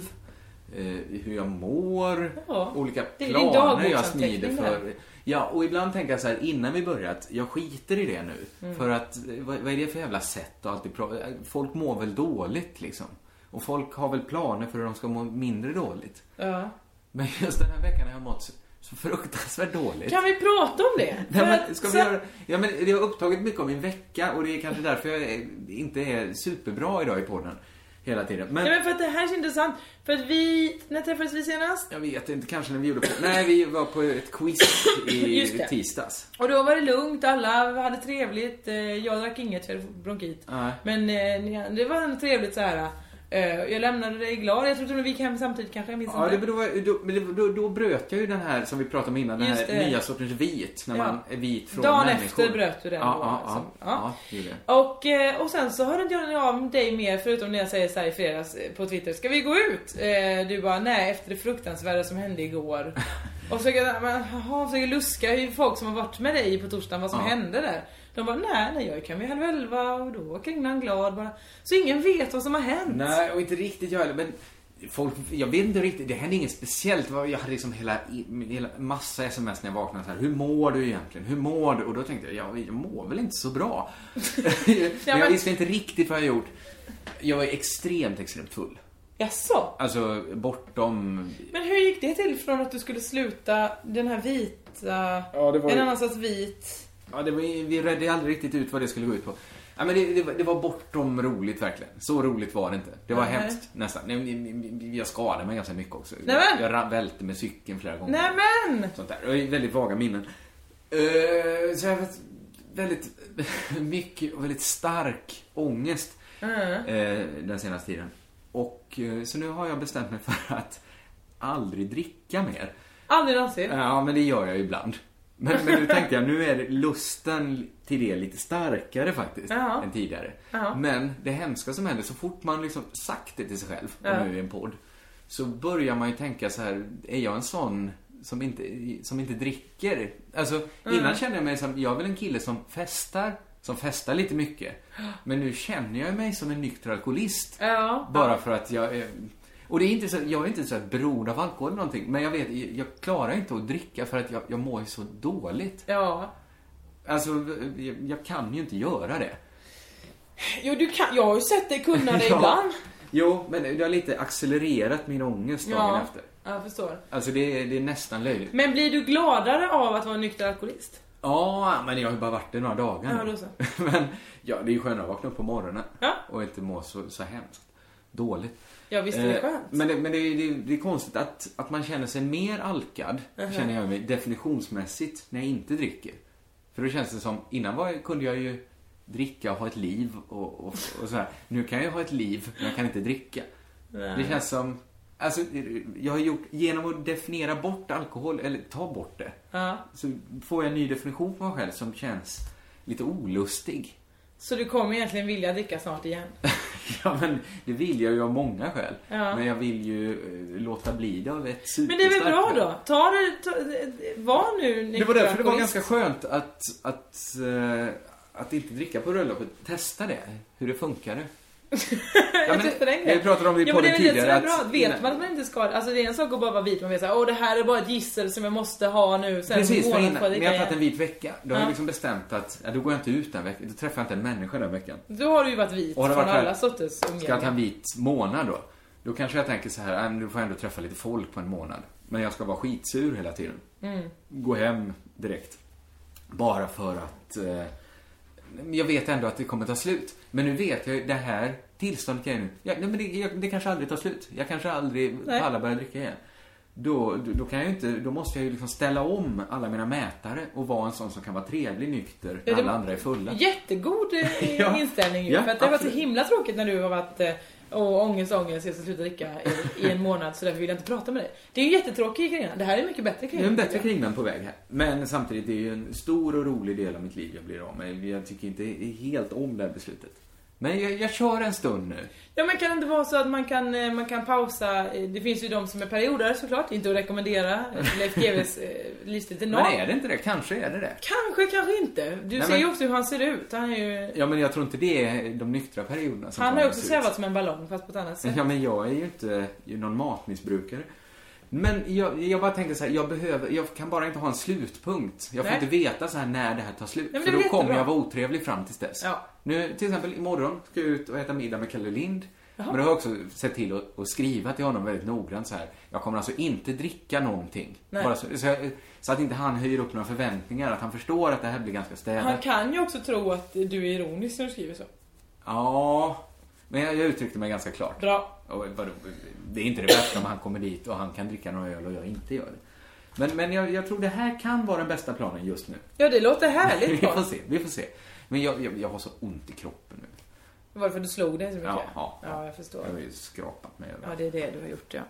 Speaker 2: Eh, hur jag mår.
Speaker 3: Ja,
Speaker 2: Olika
Speaker 3: det är din
Speaker 2: planer jag
Speaker 3: dagboksanteckning
Speaker 2: smider
Speaker 3: det
Speaker 2: för.
Speaker 3: här.
Speaker 2: Ja, och ibland tänker jag så här innan vi börjar att jag skiter i det nu.
Speaker 3: Mm.
Speaker 2: För att, eh, vad, vad är det för jävla sätt att alltid pra- eh, Folk mår väl dåligt liksom. Och folk har väl planer för hur de ska må mindre dåligt.
Speaker 3: Ja.
Speaker 2: Men just den här veckan har jag mått så, så fruktansvärt dåligt.
Speaker 3: Kan vi prata om det?
Speaker 2: Nej,
Speaker 3: För
Speaker 2: men,
Speaker 3: att
Speaker 2: ska vi
Speaker 3: så-
Speaker 2: göra... ja, men det har upptagit mycket av min vecka och det är kanske därför jag är- inte är superbra idag i podden. Hela tiden. Men
Speaker 3: Nej, men för att det här är så intressant. För att vi, när träffades vi senast?
Speaker 2: jag vet inte, kanske när vi gjorde... På... Nej, vi var på ett quiz
Speaker 3: Just
Speaker 2: i
Speaker 3: det.
Speaker 2: tisdags.
Speaker 3: Och då var det lugnt, alla hade trevligt. eh, Jag drack inget för jag hade bronkit.
Speaker 2: Nej.
Speaker 3: Men eh, ni- det var ändå trevligt så här. eh, Jag lämnade dig glad, jag tror till och med vi gick hem samtidigt kanske, jag minns
Speaker 2: Ja,
Speaker 3: inte.
Speaker 2: det, då, var- då, men det- då, då bröt jag ju den här som vi pratade om innan, den
Speaker 3: Just
Speaker 2: här
Speaker 3: det.
Speaker 2: nya sortens vit. När
Speaker 3: Ja.
Speaker 2: man är vit från
Speaker 3: Dagen
Speaker 2: människor.
Speaker 3: efter bröt du den
Speaker 2: Ja,
Speaker 3: då,
Speaker 2: ja, ja,
Speaker 3: alltså.
Speaker 2: ja. det gjorde jag.
Speaker 3: Och, eh, och sen så hörde inte jag av dig mer förutom när jag säger så här i fredags eh, på Twitter, ska vi gå ut? Eh, Du bara, nej efter det fruktansvärda som hände igår. och försöker, men, jaha, försöker luska i folk som har varit med dig på torsdagen, vad som
Speaker 9: Ja.
Speaker 3: hände där. De bara, nej, nej jag gick hem vid halv elva och då var kringlan glad bara. Så ingen vet vad som har hänt.
Speaker 2: Nej, och inte riktigt jag heller. Men folk, jag vet inte riktigt. Det hände inget speciellt. Vad- Jag hade liksom hela, hela massa sms när jag vaknade. Så här, Hur mår du egentligen? Hur mår du? Och då tänkte jag, jag, jag mår väl inte så bra. men jag
Speaker 3: men-
Speaker 2: visste inte riktigt vad jag gjort. Jag var extremt, extremt full.
Speaker 3: Jaså?
Speaker 2: Alltså, bortom...
Speaker 3: Men hur gick det till från att du skulle sluta den här vita,
Speaker 2: Ja, det var
Speaker 3: en
Speaker 2: ju-
Speaker 3: annan sorts vit?
Speaker 2: Ja, det var, ju- vi redde aldrig riktigt ut vad det skulle gå ut på. Ja, men det, det, var- det var bortom roligt verkligen. Så roligt var det inte. Det var
Speaker 3: Nej.
Speaker 2: hemskt nästan. Nej, men Jag skadade mig ganska mycket också.
Speaker 3: Nej, men-
Speaker 2: Jag ra- välte med cykeln flera gånger.
Speaker 3: Nej men!
Speaker 2: Sånt där. Jag har väldigt vaga minnen. Eh, så jag har haft väldigt mycket och väldigt stark ångest
Speaker 3: Mm.
Speaker 2: eh, den senaste tiden. Och eh, så nu har jag bestämt mig för att aldrig dricka mer.
Speaker 3: Aldrig någonsin.
Speaker 2: Ja, men det gör jag ju ibland. Men, men nu tänkte jag, nu är det- lusten till det lite starkare faktiskt
Speaker 3: Ja.
Speaker 2: än tidigare.
Speaker 3: Ja.
Speaker 2: Men det hemska som händer, så fort man liksom sagt det till sig själv,
Speaker 3: Ja.
Speaker 2: och nu i en podd, så börjar man ju tänka så här, är jag en sån som inte, som inte dricker? Alltså, innan
Speaker 3: Mm.
Speaker 2: kände jag mig som, jag är väl en kille som festar, som festar lite mycket. Men nu känner jag mig som en nykter alkoholist.
Speaker 3: Ja.
Speaker 2: Bara för att jag är... Och det är inte så, jag är inte så här beroende av alkohol eller någonting. Men jag vet, jag klarar inte att dricka för att jag, jag mår ju så dåligt.
Speaker 3: Ja.
Speaker 2: Alltså, jag, jag kan ju inte göra det.
Speaker 3: Jo du kan, jag har ju sett dig kunna det ibland.
Speaker 2: Jo, men det har lite accelererat min ångest dagen
Speaker 3: Ja.
Speaker 2: efter.
Speaker 3: Ja, jag förstår.
Speaker 2: Alltså det, är- det är nästan löjligt.
Speaker 3: Men blir du gladare av att vara nykter alkoholist?
Speaker 2: Ja, men jag har ju bara varit det några dagar
Speaker 3: Ja,
Speaker 2: nu.
Speaker 3: då så.
Speaker 2: Men ja, det är ju skönare att vakna upp på morgonen och inte må så, så hemskt dåligt.
Speaker 3: Ja, visst är det
Speaker 2: Eh,
Speaker 3: skönt.
Speaker 2: Men det, men det, det, det är konstigt att, att man känner sig mer alkad,
Speaker 3: Mhm.
Speaker 2: känner jag mig definitionsmässigt, när jag inte dricker. För då känns det som, innan var, jag- kunde jag ju dricka och ha ett liv och, och, och så här. Nu kan jag ha ett liv, men jag kan inte dricka.
Speaker 3: Nej.
Speaker 2: Det känns som, alltså, jag har gjort, genom att definiera bort alkohol, eller ta bort det,
Speaker 3: Ja.
Speaker 2: så får jag en ny definition på mig själv som känns lite olustig.
Speaker 3: Så du kommer egentligen vilja dricka snart igen?
Speaker 2: Ja, men det vill jag ju av många skäl.
Speaker 3: Ja.
Speaker 2: Men jag vill ju eh, låta bli det av ett
Speaker 3: Men det är väl
Speaker 2: superstarkt
Speaker 3: bra
Speaker 2: skäl.
Speaker 3: då? Ta det, ta, var nu nykter
Speaker 2: Det var därför det var
Speaker 3: alkoholist.
Speaker 2: ganska skönt att, att, eh, att inte dricka på bröllopet. Testa det, hur det funkade.
Speaker 3: jag testar den
Speaker 2: vi pratade om det i
Speaker 3: ja, men det är
Speaker 2: podden
Speaker 3: väl det som
Speaker 2: tidigare
Speaker 3: är bra.
Speaker 2: att-
Speaker 3: Vet man att man inte ska Alltså det är en sak att bara vara vit. Man vet såhär, åh det här är bara ett gissel som jag måste ha nu. Sen
Speaker 2: Precis, för
Speaker 3: månaden
Speaker 2: innan,
Speaker 3: får
Speaker 2: när
Speaker 3: jag
Speaker 2: jag har
Speaker 3: dricka
Speaker 2: tagit en
Speaker 3: igen.
Speaker 2: vit vecka, då har
Speaker 3: Ja.
Speaker 2: jag liksom bestämt att ja, då går jag inte ut den veckan. Då träffar jag inte en människa den veckan.
Speaker 3: Då har du ju varit vit
Speaker 2: Och har det
Speaker 3: från
Speaker 2: varit här-
Speaker 3: alla sorters
Speaker 2: Ska jag ta en
Speaker 3: umgänge.
Speaker 2: vit månad då? Då kanske jag tänker så här, "Nej, men du får jag ändå träffa lite folk på en månad. Men jag ska vara skitsur hela tiden.
Speaker 3: Mm.
Speaker 2: gå hem direkt. Bara för att eh, jag vet ändå att det kommer ta slut. Men nu vet jag ju det här tillståndet jag är i nu. Ja, nej, men det, jag, det kanske aldrig tar slut. Jag kanske aldrig
Speaker 3: Nej.
Speaker 2: pallar börja dricka igen. Då, då, då kan jag ju inte, då måste jag ju liksom ställa om alla mina mätare och vara en sån som kan vara trevlig nykter när
Speaker 3: Ja, det-
Speaker 2: alla andra är fulla.
Speaker 3: Jättegod eh,
Speaker 2: Ja.
Speaker 3: inställning ju.
Speaker 2: Ja,
Speaker 3: för att det har varit så
Speaker 2: absolut.
Speaker 3: himla tråkigt när du har varit eh, och ångest, ångest, jag ska sluta dricka i, i en månad så därför vill jag inte prata med dig. Det är ju jättetråkigt Carina. Det här är mycket bättre
Speaker 2: Det
Speaker 3: Carina.
Speaker 2: är en bättre kringlan på väg här. Men samtidigt, det är ju en stor och rolig del av mitt liv jag blir av med. Jag tycker inte helt om det här beslutet. Men jag, jag kör en stund nu.
Speaker 3: Ja men kan det inte vara så att man kan, eh, man kan pausa, eh, det finns ju de som är perioder såklart, inte att rekommendera eh, Leif GWs eh, livsstil till någon.
Speaker 2: Men är det inte det? Kanske är det det.
Speaker 3: Kanske, kanske inte. Du
Speaker 2: Nej,
Speaker 3: ser
Speaker 2: men-
Speaker 3: ju också hur han ser ut. Han är ju...
Speaker 2: Ja, men jag tror inte det är de nyktra perioderna som
Speaker 3: Han
Speaker 2: tar
Speaker 3: har ju
Speaker 2: mig
Speaker 3: också
Speaker 2: ut.
Speaker 3: svävat som en ballong fast på ett annat sätt.
Speaker 2: Ja, men jag är ju inte någon matmissbrukare. Men jag, jag bara tänker så här, jag behöver, jag kan bara inte ha en slutpunkt. Jag får
Speaker 3: Nej.
Speaker 2: inte veta så här när det här tar slut.
Speaker 3: men det
Speaker 2: för
Speaker 3: är
Speaker 2: då
Speaker 3: väl jättebra.
Speaker 2: kommer jag vara otrevlig fram tills dess.
Speaker 3: Ja.
Speaker 2: Nu till exempel imorgon ska jag ut och äta middag med Kalle Lind.
Speaker 3: Jaha.
Speaker 2: Men då har jag också sett till att, att skriva till honom väldigt noggrant så här. Jag kommer alltså inte dricka någonting.
Speaker 3: Nej.
Speaker 2: Bara så, så, jag, så att inte han höjer upp några förväntningar. Att han förstår att det här blir ganska städat.
Speaker 3: Han kan ju också tro att du är ironisk när du skriver så.
Speaker 2: Ja, men jag, jag uttryckte mig ganska klart.
Speaker 3: Bra.
Speaker 2: Och, vadå, det är inte det värsta om han kommer dit och han kan dricka några öl och jag inte gör det. Men, men jag, jag tror det här kan vara den bästa planen just nu.
Speaker 3: Ja det låter
Speaker 2: vi
Speaker 3: härligt.
Speaker 2: får
Speaker 3: Karl.
Speaker 2: se, vi får se. Men jag, jag, jag har så ont i kroppen nu.
Speaker 3: Varför du slog dig så mycket?
Speaker 2: Ja, ja,
Speaker 3: ja jag förstår.
Speaker 2: Jag har ju skrapat mig
Speaker 3: Ja,
Speaker 2: över.
Speaker 3: det är det du har gjort ja.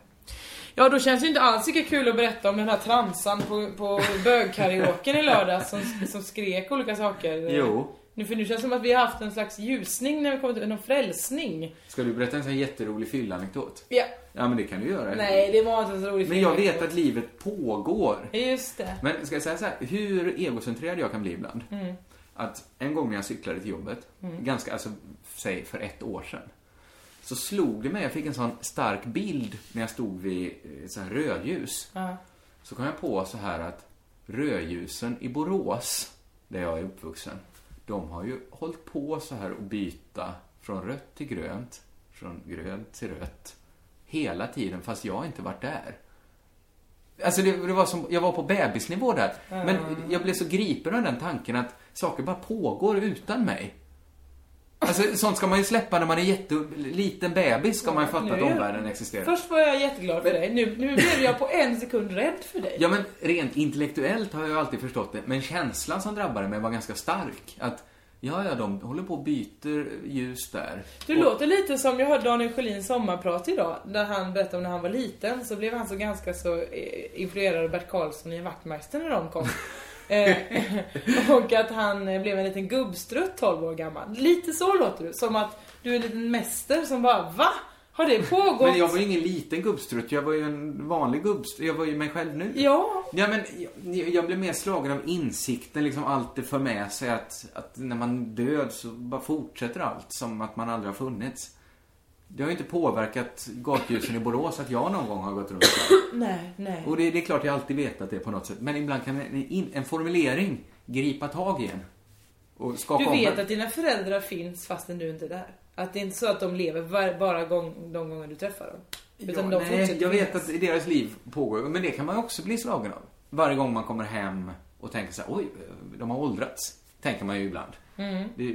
Speaker 3: Ja, då känns det ju inte alls lika kul att berätta om den här transan på, på bögkaraoken i lördags som, som skrek olika saker.
Speaker 2: Jo.
Speaker 3: Nu, för nu känns det som att vi har haft en slags ljusning när vi kommit till, någon frälsning.
Speaker 2: Ska du berätta en sån här jätterolig fyllanekdot?
Speaker 3: Ja.
Speaker 2: Ja, men det kan du göra.
Speaker 3: Nej, det var inte en så roligt.
Speaker 2: Men jag vet att livet pågår.
Speaker 3: Just det.
Speaker 2: Men ska jag säga så här, hur egocentrerad jag kan bli ibland.
Speaker 3: Mm.
Speaker 2: att en gång när jag cyklade till jobbet,
Speaker 3: Mm.
Speaker 2: ganska, alltså, säg för ett år sedan. Så slog det mig, jag fick en sån stark bild när jag stod vid eh, så här rödljus.
Speaker 3: Ja.
Speaker 2: Så kom jag på så här att rödljusen i Borås, där jag är uppvuxen, de har ju hållit på så här och byta från rött till grönt, från grönt till rött, hela tiden fast jag har inte varit där. Alltså det, det var som, jag var på bebisnivå där. Men jag blev så gripen av den tanken att saker bara pågår utan mig. Alltså sånt ska man ju släppa när man är jätteliten bebis, ska man ju fatta
Speaker 3: Nu
Speaker 2: att
Speaker 3: är jag-
Speaker 2: omvärlden existerar.
Speaker 3: Först var jag jätteglad för dig, nu, nu blev jag på en sekund rädd för dig.
Speaker 2: Ja, men rent intellektuellt har jag ju alltid förstått det, men känslan som drabbade mig var ganska stark. Att, ja, ja, de håller på och byter ljus där.
Speaker 3: Du låter lite som, jag hörde Daniel Sjölins sommarprat idag, där han berättade om när han var liten så blev han så ganska så eh, influerad av Bert Karlsson i Vaktmästaren när de kom. Eh, och att han eh, blev en liten gubbstrutt 12 år gammal. Lite så låter du, som att du är en liten mäster som bara VA? Har det pågått?
Speaker 2: Men jag var ju ingen liten gubbstrutt, jag var ju en vanlig gubbstrutt. Jag var ju mig själv nu.
Speaker 3: Ja.
Speaker 2: Ja, men jag, jag blev mer slagen av insikten, liksom allt det för med sig att, att när man död så bara fortsätter allt som att man aldrig har funnits. Det har ju inte påverkat gatljusen i Borås att jag någon gång har gått runt där.
Speaker 3: Nej, nej.
Speaker 2: Och det, det är klart jag alltid vetat det på något sätt. Men ibland kan en, in- en formulering gripa tag i en. Och skaka
Speaker 3: Du
Speaker 2: om
Speaker 3: vet
Speaker 2: en.
Speaker 3: att dina föräldrar finns fastän du inte är där. Att det är inte så att de lever var- bara gång, de gånger du träffar dem. Utan de
Speaker 2: Nej,
Speaker 3: fortsätter
Speaker 2: jag vet
Speaker 3: finnas.
Speaker 2: att deras liv pågår. Men det kan man ju också bli slagen av. Varje gång man kommer hem och tänker så här, oj, de har åldrats. Tänker man ju ibland.
Speaker 3: Mm.
Speaker 2: Det,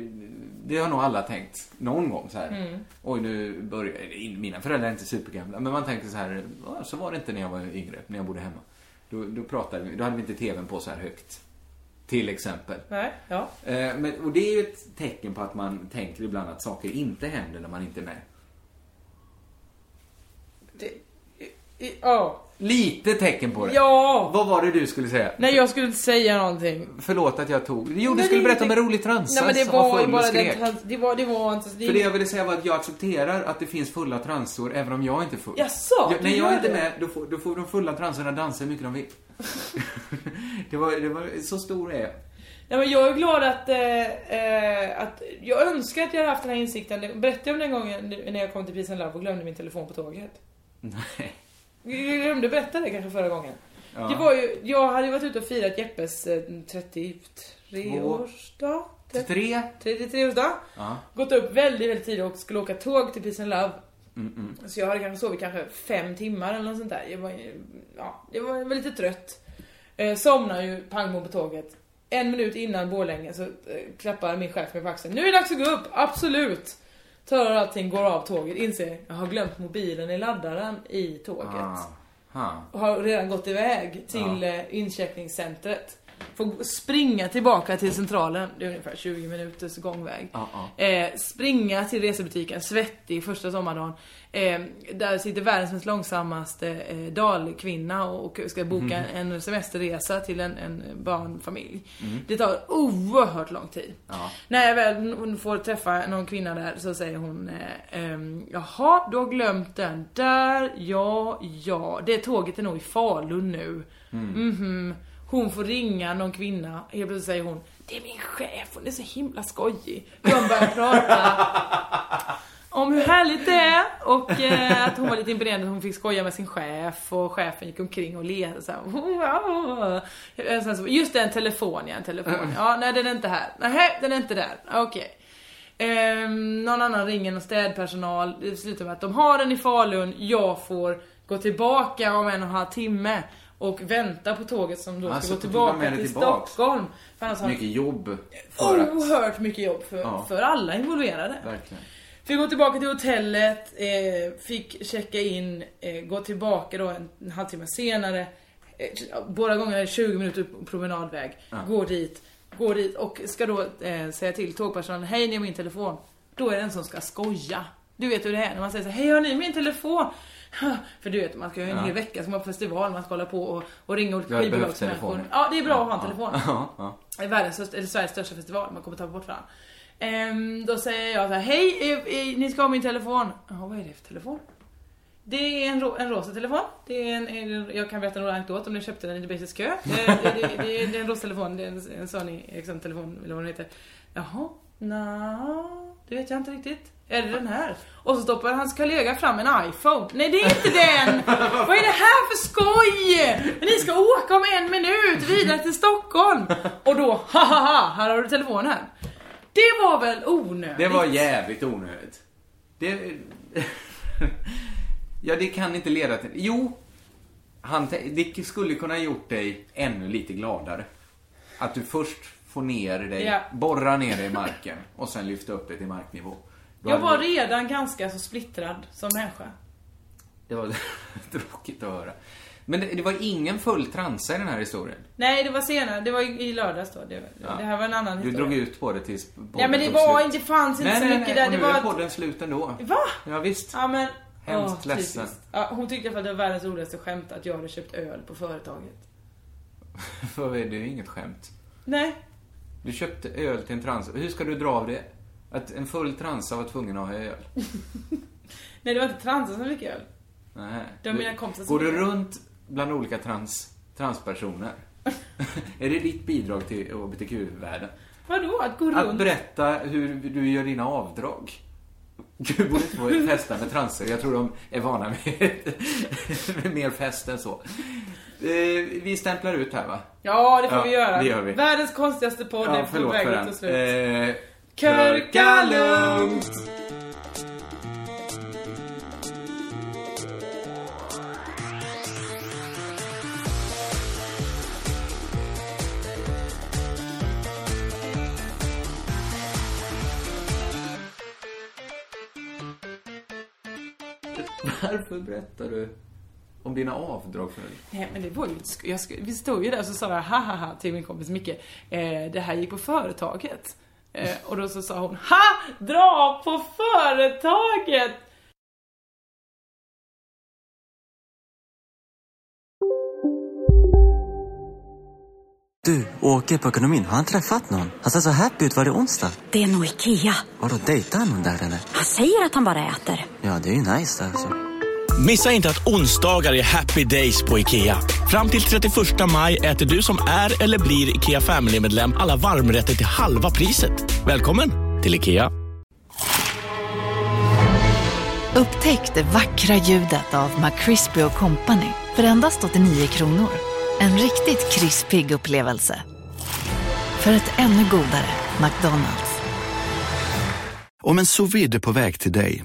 Speaker 2: det har nog alla tänkt någon gång så här.
Speaker 3: Mm.
Speaker 2: Oj, nu börjar... in- Mina föräldrar är inte supergamla, men man tänker så här. "Ja, Så var det inte när jag var yngre, när jag bodde hemma. Då, då pratade vi, då hade vi inte TVn på så här högt. Till exempel.
Speaker 3: Nej, ja.
Speaker 2: Eh, Men, och det är ju ett tecken på att man tänker ibland att saker inte händer när man inte är med.
Speaker 3: Det- i- i- Ja.
Speaker 2: Lite tecken på det.
Speaker 3: Ja!
Speaker 2: Vad var det du skulle säga?
Speaker 3: Nej jag skulle inte säga någonting.
Speaker 2: Förlåt att jag tog... Jo, du
Speaker 3: Nej,
Speaker 2: skulle
Speaker 3: det är
Speaker 2: berätta om en
Speaker 3: inte-
Speaker 2: rolig transa
Speaker 3: Nej men det
Speaker 2: som
Speaker 3: var
Speaker 2: full
Speaker 3: ju
Speaker 2: och
Speaker 3: bara
Speaker 2: skrek.
Speaker 3: den trans... Det var, det var inte... Det...
Speaker 2: För det jag ville säga var att jag accepterar att det finns fulla transor även om jag inte är full.
Speaker 3: Jaså,
Speaker 2: Jag,
Speaker 3: du
Speaker 2: när jag
Speaker 3: gör
Speaker 2: är inte
Speaker 3: det?
Speaker 2: med, då får, då får de fulla transorna dansa hur mycket de vill. det, var, det var... Så stor är jag.
Speaker 3: Nej men jag är glad att, eh, eh, att... Jag önskar att jag hade haft den här insikten. Det- Berättade jag om den gången när jag kom till Peace and Love och glömde min telefon på tåget? Nej. Jag glömde berätta det kanske förra gången.
Speaker 2: Ja.
Speaker 3: Det var ju... Jag hade ju varit ute och firat Jeppes eh, 33-årsdag.
Speaker 2: 33?
Speaker 3: 33-årsdag.
Speaker 2: Ja.
Speaker 3: Gått upp väldigt, väldigt tidigt och skulle åka tåg till Peace and Love.
Speaker 2: Mm, mm.
Speaker 3: Så jag hade kanske sovit kanske fem timmar eller något sånt där. Jag var, ju- ja, jag var, jag var lite trött. Eh, somnar ju pangbo på tåget. En minut innan Borlänge så eh, klappar min chef mig på axeln. Nu är det dags att gå upp, absolut! Tar allting, går av tåget, inser jag har glömt mobilen i laddaren i tåget.
Speaker 2: Ah.
Speaker 3: Och har redan gått iväg till ja. incheckningscentret. Får springa tillbaka till centralen, det är ungefär 20 minuters gångväg.
Speaker 2: Ja, ja.
Speaker 3: Eh, springa till resebutiken, svettig första sommardagen. Eh, där sitter världens mest långsammaste eh, dalkvinna och och ska boka
Speaker 2: Mhm.
Speaker 3: en semesterresa till en, en barnfamilj.
Speaker 2: Mm.
Speaker 3: Det tar oerhört lång tid.
Speaker 2: Ja.
Speaker 3: När jag väl hon får träffa någon kvinna där så säger hon eh, ehm, Jaha, du har glömt den där, ja, ja. Det tåget är nog i Falun nu.
Speaker 2: Mm.
Speaker 3: Mhm. Hon får ringa någon kvinna, helt plötsligt säger hon Det är min chef, hon är så himla skojig. De börjar prata om hur härligt det är och eh, att hon var lite imponerad att hon fick skoja med sin chef och chefen gick omkring och letade såhär. "Wow." Eh, Sen så, just det, en telefon ja, en
Speaker 2: Mm.
Speaker 3: telefon. Ja, nej den är inte här. Nej, den är inte där. Okej. Ehm, någon annan ringer någon städpersonal. Det slutar med att de har den i Falun. Jag får gå tillbaka om en och en halv timme. Och vänta på tåget som då
Speaker 2: Ah, så
Speaker 3: ska gå
Speaker 2: tog de med
Speaker 3: tillbaka
Speaker 2: det
Speaker 3: till
Speaker 2: tillbaks.
Speaker 3: Stockholm. För annars har han
Speaker 2: Mycket jobb.
Speaker 3: Oh.
Speaker 2: För att...
Speaker 3: oerhört mycket jobb för,
Speaker 2: Ja.
Speaker 3: för alla involverade.
Speaker 2: Verkligen.
Speaker 3: Fick gå tillbaka till hotellet, eh, fick checka in, eh, gå tillbaka då en, en halvtimme senare. Eh, båda gångerna är det 20 minuter promenadväg.
Speaker 2: Ja.
Speaker 3: Går dit, går dit och ska då eh, säga till tågpersonalen, hej ni har min telefon. Då är det en som ska skoja. Du vet hur det är när man säger så här, hej har ni min telefon? För du vet, man ska ju en
Speaker 2: Ja.
Speaker 3: hel vecka som har festival, man ska hålla på och, och ringa
Speaker 2: Du
Speaker 3: olika
Speaker 2: hade behövt
Speaker 3: skivbolagsmänniskor.
Speaker 2: telefonen.
Speaker 3: Ja, det är bra att ha en telefon.
Speaker 2: Ja, ja.
Speaker 3: Det är världens, största- eller Sveriges största festival, man kommer tappa bort varandra. Ehm, då säger jag så här, hej, eh, eh, ni ska ha min telefon. Ja, vad är det för telefon? Det är en, ro, en rosa telefon. Det är en, en, jag kan berätta en anekdot om ni köpte den i Debases kö. Det, det, det, det, är- det är en rosa telefon, det är en, en Sony Ericsson-telefon eller vad den heter. Jaha, nja, det vet jag inte riktigt. Är det den här? Och så stoppar hans kollega fram en iPhone. Nej det är inte den! Vad är det här för skoj? Ni ska åka om en minut vidare till Stockholm! Och då, ha ha ha, här har du telefonen. Det var väl onödigt?
Speaker 2: Det var jävligt onödigt. Det... ja, det kan inte leda till... Jo, han, te- det skulle kunna ha gjort dig ännu lite gladare. Att du först får ner dig,
Speaker 3: Ja.
Speaker 2: borra ner dig i marken och sen lyfta upp dig till marknivå. Då
Speaker 3: Jag
Speaker 2: hade
Speaker 3: var
Speaker 2: du-
Speaker 3: redan ganska så splittrad som människa.
Speaker 2: Det var tråkigt att höra. Men det, det var ingen full transa i den här historien.
Speaker 3: Nej, det var senare. Det var i i lördags då. Det,
Speaker 2: Ja.
Speaker 3: det här var en annan
Speaker 2: Du
Speaker 3: historia.
Speaker 2: drog ut på det tills podden
Speaker 3: Nej men det
Speaker 2: tog
Speaker 3: var
Speaker 2: slut.
Speaker 3: inte, det fanns inte
Speaker 2: nej,
Speaker 3: så
Speaker 2: nej,
Speaker 3: mycket
Speaker 2: nej,
Speaker 3: där.
Speaker 2: och
Speaker 3: Det
Speaker 2: nu
Speaker 3: var...
Speaker 2: är podden slut ändå.
Speaker 3: Va?
Speaker 2: Ja, visst.
Speaker 3: Ja men...
Speaker 2: Hemskt
Speaker 3: åh,
Speaker 2: ledsen.
Speaker 3: typiskt. Ja, hon tyckte i alla fall det var världens roligaste skämt att jag hade köpt öl på företaget.
Speaker 2: För det är ju inget skämt.
Speaker 3: Nej.
Speaker 2: Du köpte öl till en transa. Hur ska du dra av det? Att en full transa var tvungen att ha öl?
Speaker 3: Nej det var inte transa som fick öl.
Speaker 2: Nej.
Speaker 3: Det var mina kompisar som
Speaker 2: Går du
Speaker 3: gjorde det.
Speaker 2: runt bland olika trans, transpersoner? är det ditt bidrag till HBTQ-världen?
Speaker 3: Vadå? Att gå
Speaker 2: Att
Speaker 3: runt?
Speaker 2: berätta hur du gör dina avdrag. Du borde inte få festa med transer. Jag tror de är vana med, med mer fest än så. Eh, Vi stämplar ut här va?
Speaker 3: Ja det får
Speaker 2: Ja,
Speaker 3: vi göra.
Speaker 2: det gör vi.
Speaker 3: Världens konstigaste podd är på väg att ta slut.
Speaker 2: Eh,
Speaker 3: Körka lugnt!
Speaker 2: Varför berättar du om dina avdrag för mig?
Speaker 3: Nej men det var ju inte sko- jag sko- Vi stod ju där och så sa jag hahaha till min kompis Micke. Eh, det här gick på företaget. Eh, och då så sa hon HA! Dra på företaget!
Speaker 9: Du, åker på ekonomin. Har han träffat någon? Han ser så happy ut. Var det onsdag?
Speaker 10: Det är nog Ikea.
Speaker 9: Vadå, dejtar han någon där eller?
Speaker 10: Han säger att han bara äter.
Speaker 9: Ja, det är ju nice alltså.
Speaker 11: Missa inte att onsdagar är happy days på IKEA. Fram till 31 maj äter du som är eller blir IKEA Family-medlem alla varmrätter till halva priset. Välkommen till IKEA.
Speaker 12: Upptäck det vackra ljudet av McCrispy Company för endast 89 kronor. En riktigt krispig upplevelse. För ett ännu godare McDonalds.
Speaker 13: Om en sous vide är på väg till dig